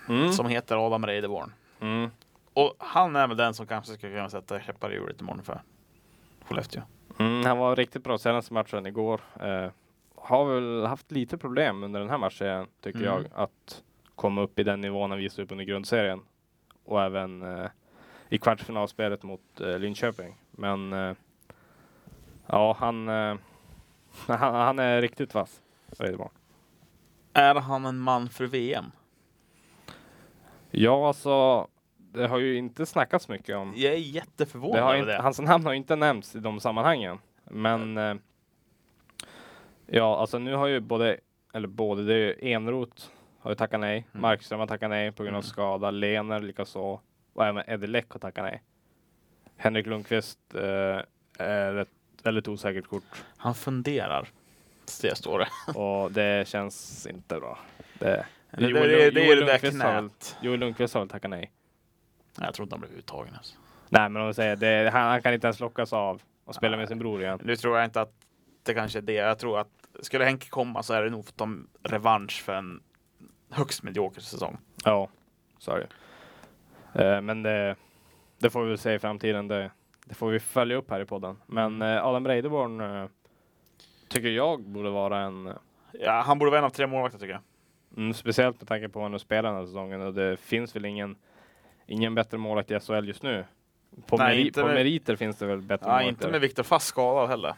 Mm. Som heter Adam Reideborn. Mm. Och han är väl den som kanske skulle kunna sätta käppar i hjulet imorgon för Skellefteå. Mm, han var riktigt bra senaste matchen igår. Eh, har väl haft lite problem under den här matchen tycker Mm. jag att komma upp i den nivån han visade upp under grundserien och även eh, i kvartsfinalspelet mot eh, Linköping. Men eh, ja, han, eh, han, han är riktigt vass. Reideborn. Är han en man för VM? Ja, alltså, det har ju inte snackats mycket om Jag är Mm. Det jätteförvånad har över inte, det. hans namn har inte nämnts i de sammanhangen. Men eh, ja, alltså nu har ju både, eller både, det är ju Enrot har ju tackat nej. Mm. Markström har tackat nej på grund av Mm. skada. Lener likaså. Och även Eddie Läck har tackat nej. Henrik Lundqvist eh, är ett väldigt osäkert kort Han funderar. Det står det. och det känns inte bra. Det, Det, Joel det, det, Lund- det är Joel det där Lundqvist har väl- knät. Joel Lundqvist har väl tackat nej. Nej, Jag tror inte han blev uttagen ens. Nej, men om vi säger det, han, han kan inte ens lockas av och spela med sin bror igen. Nu tror jag inte att det kanske är det. Jag tror att skulle Henke komma så är det nog för att de revansch för en högst medioker säsong. Ja, sorry. Eh, men det, det får vi väl se i framtiden. Det, det får vi följa upp här i podden. Men eh, Adam Reideborn eh, tycker jag borde vara en, eh, Ja, han borde vara en av tre målvakter tycker jag. mm, speciellt med tanke på hur han spelar den här säsongen och det finns väl ingen, ingen bättre målvakt i SHL just nu. På, Nej, meri- inte på med- meriter finns det väl bättre Ja, målvakter? inte med Viktor Fast skadad heller.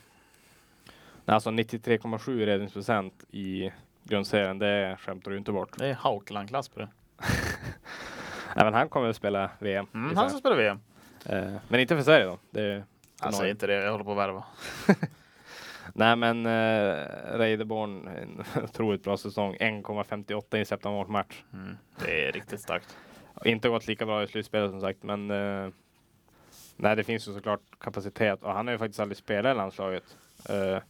Nej, Alltså 93,7 i räddningsprocent i grundserien, det skämtar du inte bort. Det är Haukeland-klass på det. Även han kommer att spela VM. Mm, gissar han ska spela VM. jag. eh, men inte för Sverige då. Det är Han säger inte det. Jag håller på att värva. Nej men eh, Reideborn, en otroligt bra säsong. 1,58 incepta mål per match. Mm. Det är riktigt starkt. Inte gått lika bra i slutspelet som sagt men eh, Nej det finns ju såklart kapacitet och han har ju faktiskt aldrig spelat i landslaget. Eh,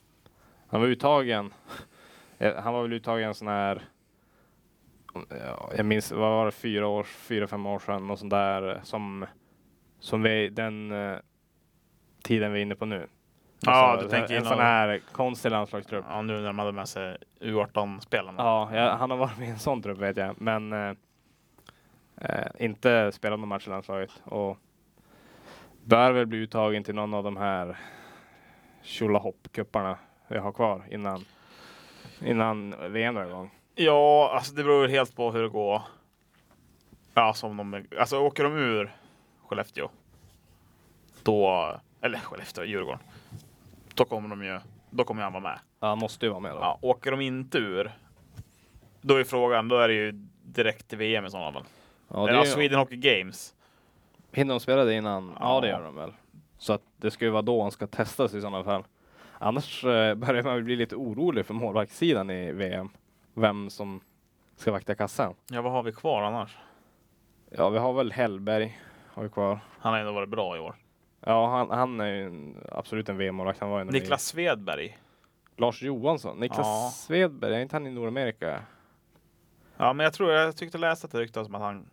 han var uttagen. eh, han var väl uttagen sån här ja, jag minns, vad var det, fyra år, fyra, fem år sedan och sånt där eh, som, som vi, den eh, tiden vi är inne på nu. Ja, Alltså, du tänker en innan- sån här konstig landslagstrupp. Ja, nu när de hade med sig U18-spelarna. Ja, jag, han har varit med i en sån trupp vet jag, men eh, eh, inte spelat någon match i landslaget och bör väl bli uttagen till någon av de här tjolahopp-cuparna vi har kvar innan, innan VM drar igång. Ja, alltså det beror väl helt på hur det går. Ja, som de, alltså åker de ur Skellefteå, då, eller Skellefteå, Djurgården, då kommer de ju, då kommer han vara med. Ja, han måste ju vara med då. Ja, åker de inte ur, då är frågan, då är det ju direkt till VM i sådana fall. Ja, eller det ja, är ju, Sweden Hockey Games. hinner de spela det innan? alltså, Ja. Ja. det gör de väl. Så att det ska ju vara då han ska testas i sådana fall. Annars eh, börjar man väl bli lite orolig för målvaktssidan i VM. Vem som ska vakta kassan. Ja, vad har vi kvar annars? Ja, vi har väl Hellberg har vi kvar. Han har ändå varit bra i år. Ja, han, han är ju en, absolut en VM-målvakt. Han var ju när vi- Niklas Svedberg. Lars Johansson. Niklas Ja. Svedberg, är inte han i Nordamerika? Ja, men jag tror jag tyckte läsa att det ryktades om att han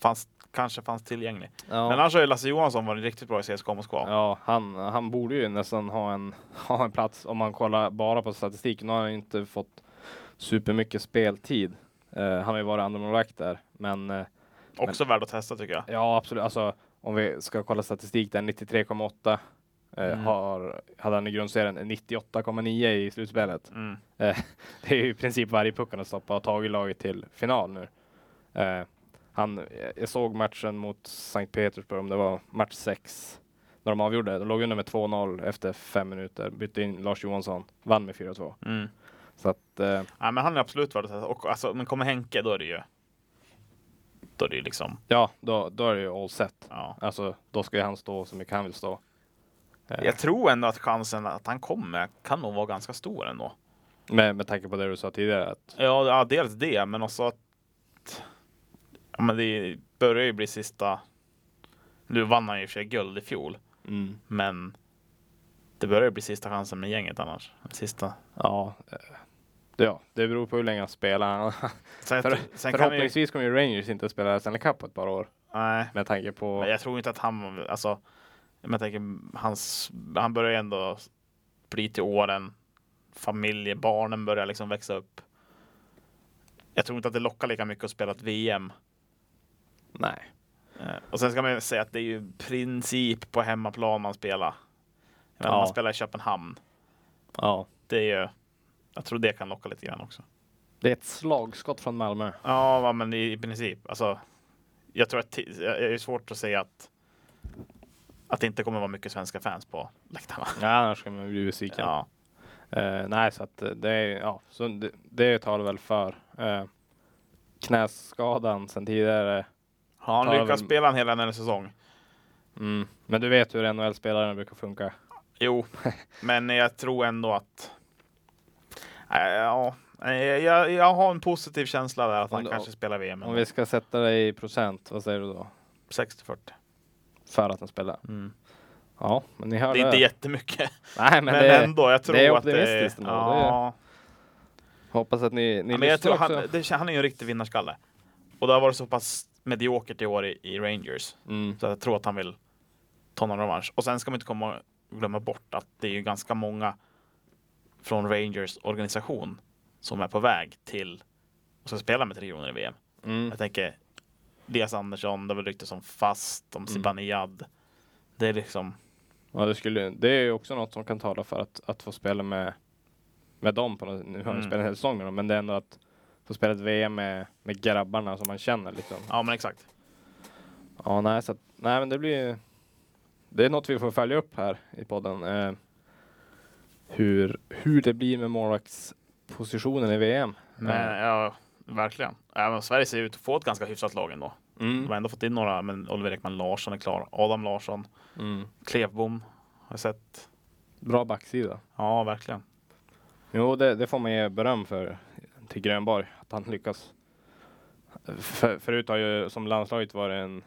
fanns, kanske fanns tillgänglig. Men Ja. annars har ju Lasse Johansson varit riktigt bra i CSKA Moskva. Ja, han, han borde ju nästan ha en, ha en plats om man kollar bara på statistiken. Nu har han ju inte fått supermycket speltid. Eh, han har ju varit andra målvakt där, men eh, Också värd att testa tycker jag. Ja, absolut. Alltså, om vi ska kolla statistik där, 93,8 eh, Mm. har, hade han i grundserien, 98,9 i slutspelet. Eh, Mm. Det är ju i princip varje puck han har stoppat och tagit laget till final nu. Eh, han, eh, jag såg matchen mot Sankt Petersburg, om det var match 6, när de avgjorde. De låg under med 2-0 efter fem minuter, bytte in Lars Johansson, vann med 4-2. Mm. Så att, eh, Ja, men han är absolut värd att testa. Och, alltså, men kommer Henke, då är det ju... Då är det ju liksom... ja, då, då är det ju all set. Ja. Alltså, då ska ju han stå så mycket han vill stå. Eh, Jag tror ändå att chansen att han kommer kan nog vara ganska stor ändå. Med, med tanke på det du sa tidigare, att Ja, ja dels det, men också att... Ja, men det börjar ju bli sista... Nu vann han ju i och för sig guld i fjol, Mm. men det börjar ju bli sista chansen med gänget annars. Sista. Ja, eh, det- ja, det beror på hur länge han spelar. Sen, För- sen kan vi, Förhoppningsvis kommer ju Rangers inte spela Stanley Cup på ett par år nej, med tanke på. men jag tror inte att han... Alltså, men jag tänker, hans, han börjar ju ändå bli till åren. Familje, barnen börjar liksom växa upp. Jag tror inte att det lockar lika mycket att spela ett VM. Nej. Eh, Och sen ska man ju säga att det är ju i princip på hemmaplan man spelar. Jag menar, Ja. Man spelar i Köpenhamn. Ja, Det är ju, jag tror det kan locka lite grann också. det är ett slagskott från Malmö. Ja, va, men i, i princip. Alltså, jag tror att ti- jag- det är svårt att säga att, att det inte kommer vara mycket svenska fans på läktarna. Ja, annars kommer man bli besviken. Ja. Eh, nej, så att eh, det är ja, så det, det talar väl för. Eh, knäskadan sen tidigare. Har Tar han lyckats väl- spela en hela en säsong? Mm. Men du vet hur NHL-spelare brukar funka. Jo, men jag tror ändå att... Nej, Ja, nej, jag, jag har en positiv känsla där att Om han du- kanske spelar VM. Om vi ska sätta det i procent, vad säger du då? 60-40. För att han spelar? Mm. Ja, men ni hör Det är inte jättemycket. Nej, men, Men, det, ändå, jag tror det är att det optimistiskt ändå, det är- Ja, hoppas att ni, ni men jag tror lyssnar han, också. det, han är ju en riktig vinnarskalle. Och det har varit så pass mediokert i år i, i Rangers. Mm. Så jag tror att han vill ta någon revansch. Och sen ska man inte komma glömma bort att det är ju ganska många från Rangers organisation som är på väg till och ska spela med Tre Kronor i VM. Mm. Jag tänker Elias Andersson, det var ryktes om Fast, Mm. om Zibanejad. Det är liksom, Ja, det, skulle, det är ju också något som kan tala för att, att få spela med, med dem. På något, nu har mm. Mm. spelat en hel säsong med dem, men det är ändå att få spela ett VM med, med grabbarna som man känner. Liksom. ja men exakt. Ja, nej, så att, nej, men det blir Det är något vi får följa upp här i podden. Eh, hur, hur det blir med målvaktspositionen i VM. Men, Eh, ja, verkligen. Även Sverige ser ut att få ett ganska hyfsat lag ändå. De Mm. har ändå fått in några, men Oliver Ekman Larsson är klar. Adam Larsson, Mm. Klevbom har jag sett. Bra backsida. Ja, verkligen. Jo, det, det får man ge beröm för till Grönborg, att han lyckas. För, förut har ju som landslaget varit en...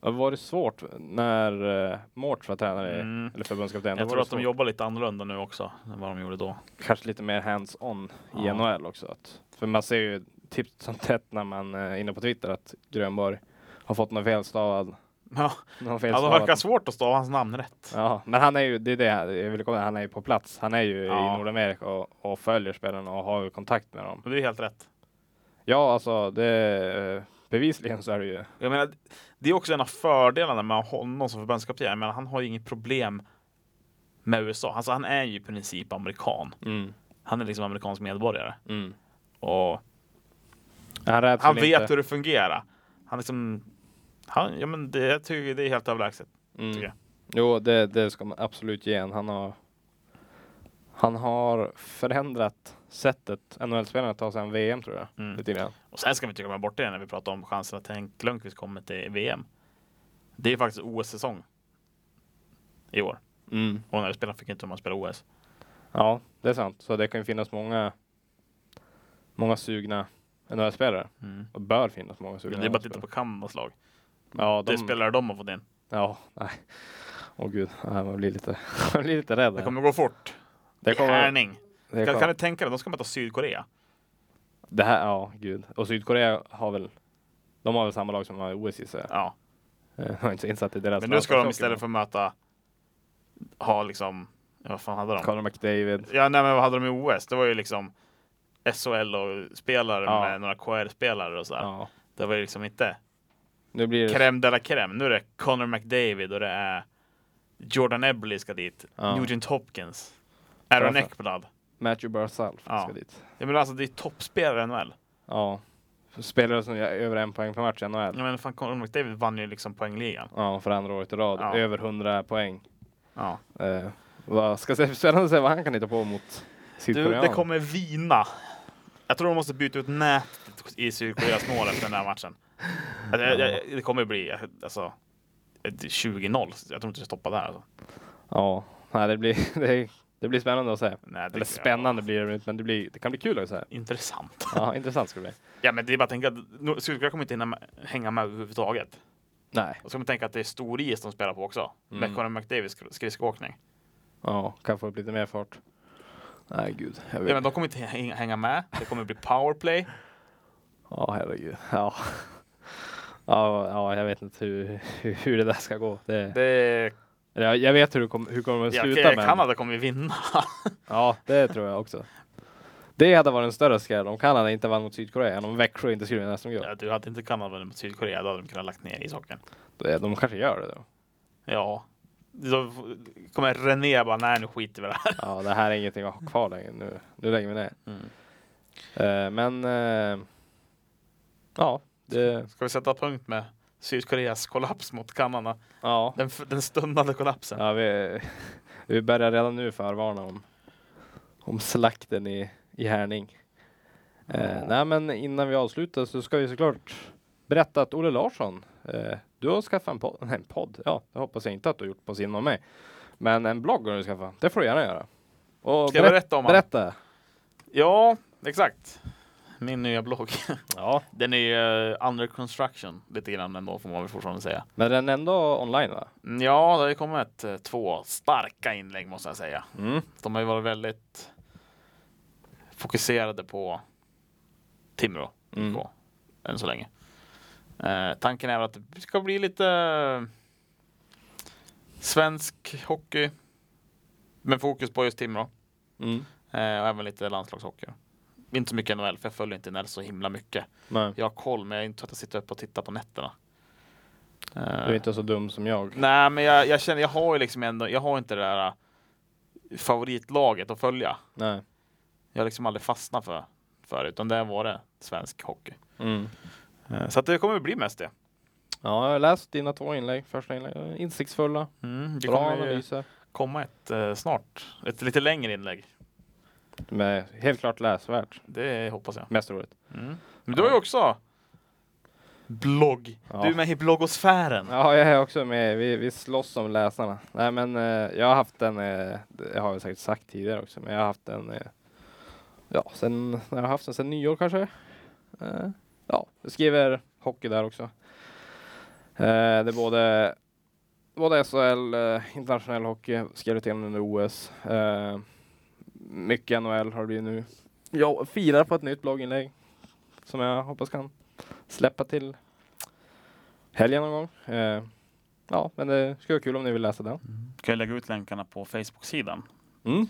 Det har varit svårt när uh, Mårts var tränare, Mm. eller förbundskapten. Då Jag var tror det att de svårt. jobbar lite annorlunda nu också än vad de gjorde då. Kanske lite mer hands-on i Ja. NHL också. Att, för man ser ju tipp som tätt när man eh, är inne på Twitter att Grönborg har fått någon felstavad. Ja, Någon ja det felstavad. verkar svårt att stava hans namn rätt. Ja, men han är ju, det är det jag vill komma han är ju på plats. Han är ju Ja. i Nordamerika och, och följer spelarna och har ju kontakt med dem. Men det är helt rätt. Ja, alltså det bevisligen så är det ju. Jag menar, det är också en av fördelarna med honom som förbundskapten. Jag menar, han har ju inget problem med USA. Alltså, han är ju i princip amerikan. Mm, Han är liksom amerikansk medborgare. Och Han, räds han väl vet inte. hur det fungerar. Han liksom... Han, ja, men det, jag tycker det är helt överlägset. tycker jag. Mm. Jo, det, det ska man absolut ge en. Han har, han har förändrat sättet NHL-spelarna tar sig en VM tror jag. Mm. Lite grann. Och sen ska vi inte glömma bort det när vi pratar om chansen att Henk Lundqvist kommer till VM. Det är faktiskt OS-säsong i år. Mm. Och när vi spelar fick inte man spela OS. Ja, det är sant. Så det kan ju finnas många, många sugna NHL-spelare. Och bör finnas många Det sugna är bara att titta NHL-spelare. på Kanadas lag. Ja, Det de, spelar de har fått in. ja, nej. Åh gud, nej, man blir lite, man blir lite rädd. Det här. kommer gå fort. det kommer, Härning. det Kan, kan kommer, du tänka dig, de ska möta Sydkorea. det här, ja gud. Och Sydkorea har väl De har väl samma lag som var i OS gissar jag. Ja. Jag har inte så insatt i deras Men nu ska de landslagshockey, istället för att möta, ha liksom, ja, vad fan hade men- de? Conor McDavid. Ja, nej, men vad hade de i OS? Det var ju liksom SHL-spelare Ja. med några KR-spelare och sådär. Ja. Det var ju liksom inte Nu blir det... crème de la crème. Nu är det Connor McDavid och det är Jordan Eberle ska dit. Ja. Nugent Hopkins. Aaron Perfekt. Ekblad. Matthew Barzal Ja. ska dit. Ja, men alltså det är toppspelare i NHL. Ja. Spelare som gör över en poäng per match i NHL. Ja, men fan, Connor McDavid vann ju liksom poängligan. Ja, för andra året i rad. Ja. Över 100 poäng. Ja. Eh, vad ska se, spännande att se vad han kan hitta på mot Du, Sydkorean. det kommer vina. Jag tror de måste byta ut nätet i Sydkoreas mål efter den här matchen. Alltså, jag, jag, det kommer bli alltså, ett 20-0. Jag tror inte det stoppar där. Alltså. Ja, nej, det, blir, det, det blir spännande att se. Nej, det Eller spännande blir det väl inte, men det, blir, det kan bli kul att se. Intressant. Ja, intressant ska det bli. Ja, men det är bara att tänka att Nor- Sydkorea kommer inte hinna med- hänga med överhuvudtaget. Nej. Och så ska man tänka att det är stor is de spelar på också. Mm. Med Conor McDavids skri- skridskoåkning. Ja, kan få upp lite mer fart. Nej, gud. Jag vet. Ja, men de kommer inte häng- hänga med. Det kommer bli powerplay. Ja, herregud. Ja. Ja, ja, jag vet inte hur, hur, hur det där ska gå. Det, Det, eller jag, jag vet hur det kommer, hur kommer att ja, sluta. okej, men, Kanada kommer ju vinna. Ja, det tror jag också. Det hade varit en större skräll om Kanada inte vann mot Sydkorea än om Växjö inte skulle vinna som grupp. Ja, du hade inte Kanada vunnit mot Sydkorea, då hade de kunnat lagt ner ishockeyn. De- De kanske gör det då. Ja. Då f- kommer René bara, nej nu skiter vi i det här. Ja, det här är ingenting att ha kvar längre. Nu, nu lägger vi ner. Mm. Eh, men eh, ja, det, Ska vi sätta punkt med Sydkoreas kollaps mot Kanada? ja, Den, f- den stundande kollapsen. ja vi, vi börjar redan nu förvarna om, om slakten i, i Härning. Eh, nej, men innan vi avslutar så ska vi såklart berätta att Olle Larsson, eh, du har skaffat en podd. Nej, en podd. Ja, det hoppas jag inte att du har gjort på sin av mig. Men en blogg har du skaffat. Det får du gärna göra. Och Ska jag berätta om han? Berätta. Ja, exakt. Min nya blogg. Ja, Den är ju eh, under construction lite grann ändå får man väl fortfarande säga. men den är ändå online va? Mm, Ja, det har ju kommit eh, två starka inlägg måste jag säga. Mm. De har ju varit väldigt fokuserade på Timrå IK Mm. än så länge. Eh, tanken är väl att det ska bli lite eh, svensk hockey med fokus på just Timrå. Mm. Eh, och även lite landslagshockey. Inte så mycket NHL, för jag följer inte NHL så himla mycket. Nej. Jag har koll, men jag är inte så att jag sitter uppe och tittar på nätterna. Eh, Du är inte så dum som jag. Nej, men jag, jag känner, jag har ju liksom ändå, jag har inte det där eh, favoritlaget att följa. Nej. Jag har liksom aldrig fastnat för, för det, utan det var det svensk hockey. Mm. Eh, Så att det kommer bli mest det. Ja, jag har läst dina två inlägg, första inlägg. Insiktsfulla, Mm, det bra kommer ju analyser. komma ett eh, snart, ett lite längre inlägg. Men helt klart läsvärt, Det hoppas jag. mest roligt. Mm. Men du har ju också blogg. Ja. Du är med i bloggosfären. Ja, jag är också med. Vi, vi slåss om läsarna. Nej, men eh, jag har haft en, eh, det har jag säkert sagt tidigare också, men jag har haft en, eh, ja, sen, när jag har haft den sen nyår kanske. Eh, ja, jag skriver hockey där också. Eh, det är både, både SHL, eh, internationell hockey, skrev lite grann under OS. Eh, mycket NHL har det blivit nu. Jag firar på ett nytt blogginlägg som jag hoppas kan släppa till helgen någon gång. Eh, ja, men det skulle vara kul om ni vill läsa den. Mm. Kan jag lägga ut länkarna på Facebook-sidan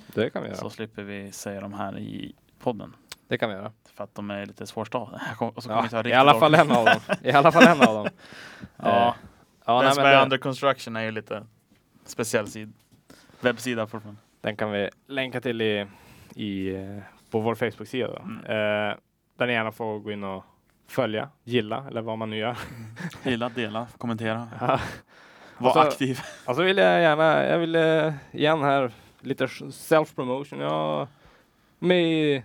det kan vi Mm. göra. så slipper vi säga de här i podden. Det kan vi göra. För att de är lite svårstavade. Jag kommer- och så kommer Ja, inte jag I riktigt alla orka. fall en av dem. I alla fall en av dem. Eh, Ja, ja, den nej, som men är det- under construction är ju lite speciell sid- webbsida fortfarande. Den kan vi länka till i, i, eh, på vår Facebook-sida. Då. Mm. Eh, där ni gärna får gå in och följa, gilla eller vad man nu gör. Gilla, dela, kommentera, Ja. var Alltså- aktiv. Och så vill jag gärna, jag vill eh, igen här, lite self-promotion. Jag är med i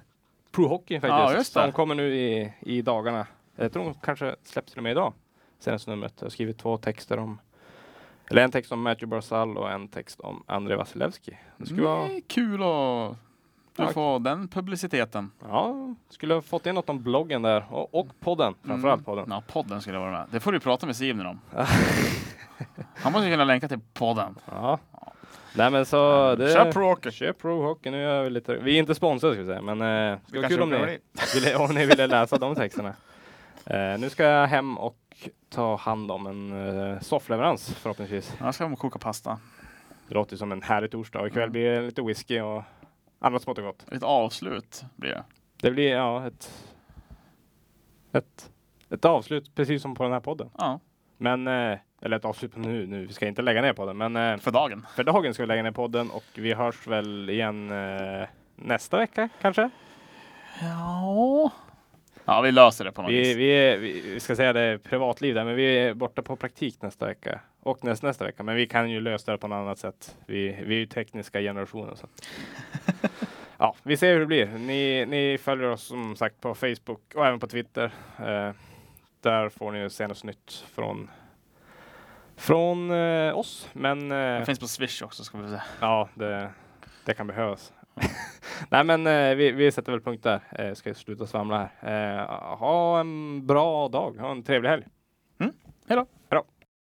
Pro Hockey faktiskt. Ja, just det. De kommer nu i, i dagarna. Jag tror de kanske släpps till och med idag, senaste numret. Jag har skrivit två texter om, eller en text om Matthew Barzal och en text om Andrei Vasilevski. Det skulle vara Mm, Det är kul att Tack. du får den publiciteten. Ja, skulle ha fått in något om bloggen där och, och podden, Mm. framförallt podden. Ja, podden skulle vara med. Det får du prata med Simon om. Han måste ju kunna länka till podden. Ja. Nej men så... Det, Kör Pro Hockey. Kör Pro Hockey. Nu gör vi lite... Vi är inte sponsrade ska vi säga, men eh, det skulle vara kanske kul om blir ni, ville, om ni ville läsa de texterna. Eh, nu ska jag hem och ta hand om en eh, soffleverans förhoppningsvis. Annars ska de koka pasta. Det låter som en härlig torsdag och ikväll Mm. blir det lite whisky och annat smått och gott. Ett avslut blir det. Det blir ja, ett, ett, ett avslut precis som på den här podden. Ja, Men, eh, eller ett avslut på nu, nu. Vi ska inte lägga ner podden, men eh, för dagen. för dagen ska vi lägga ner podden och vi hörs väl igen eh, nästa vecka kanske? Ja. Ja, vi löser det på något Vi, vis. vi, är, vi vi ska säga det är privatliv där, men vi är borta på praktik nästa vecka och näst, nästa vecka. Men vi kan ju lösa det på något annat sätt. Vi, vi är ju tekniska generationen. Så. att- Ja, vi ser hur det blir. Ni, ni följer oss som sagt på Facebook och även på Twitter. Eh, där får ni ju senast nytt från från eh, oss. Men eh, Det finns på Swish också ska vi säga. ja, det, det kan behövas. Nej, men eh, vi, vi sätter väl punkt där. Eh, ska sluta svamla här. Eh, ha en bra dag. Ha en trevlig helg. Hej då!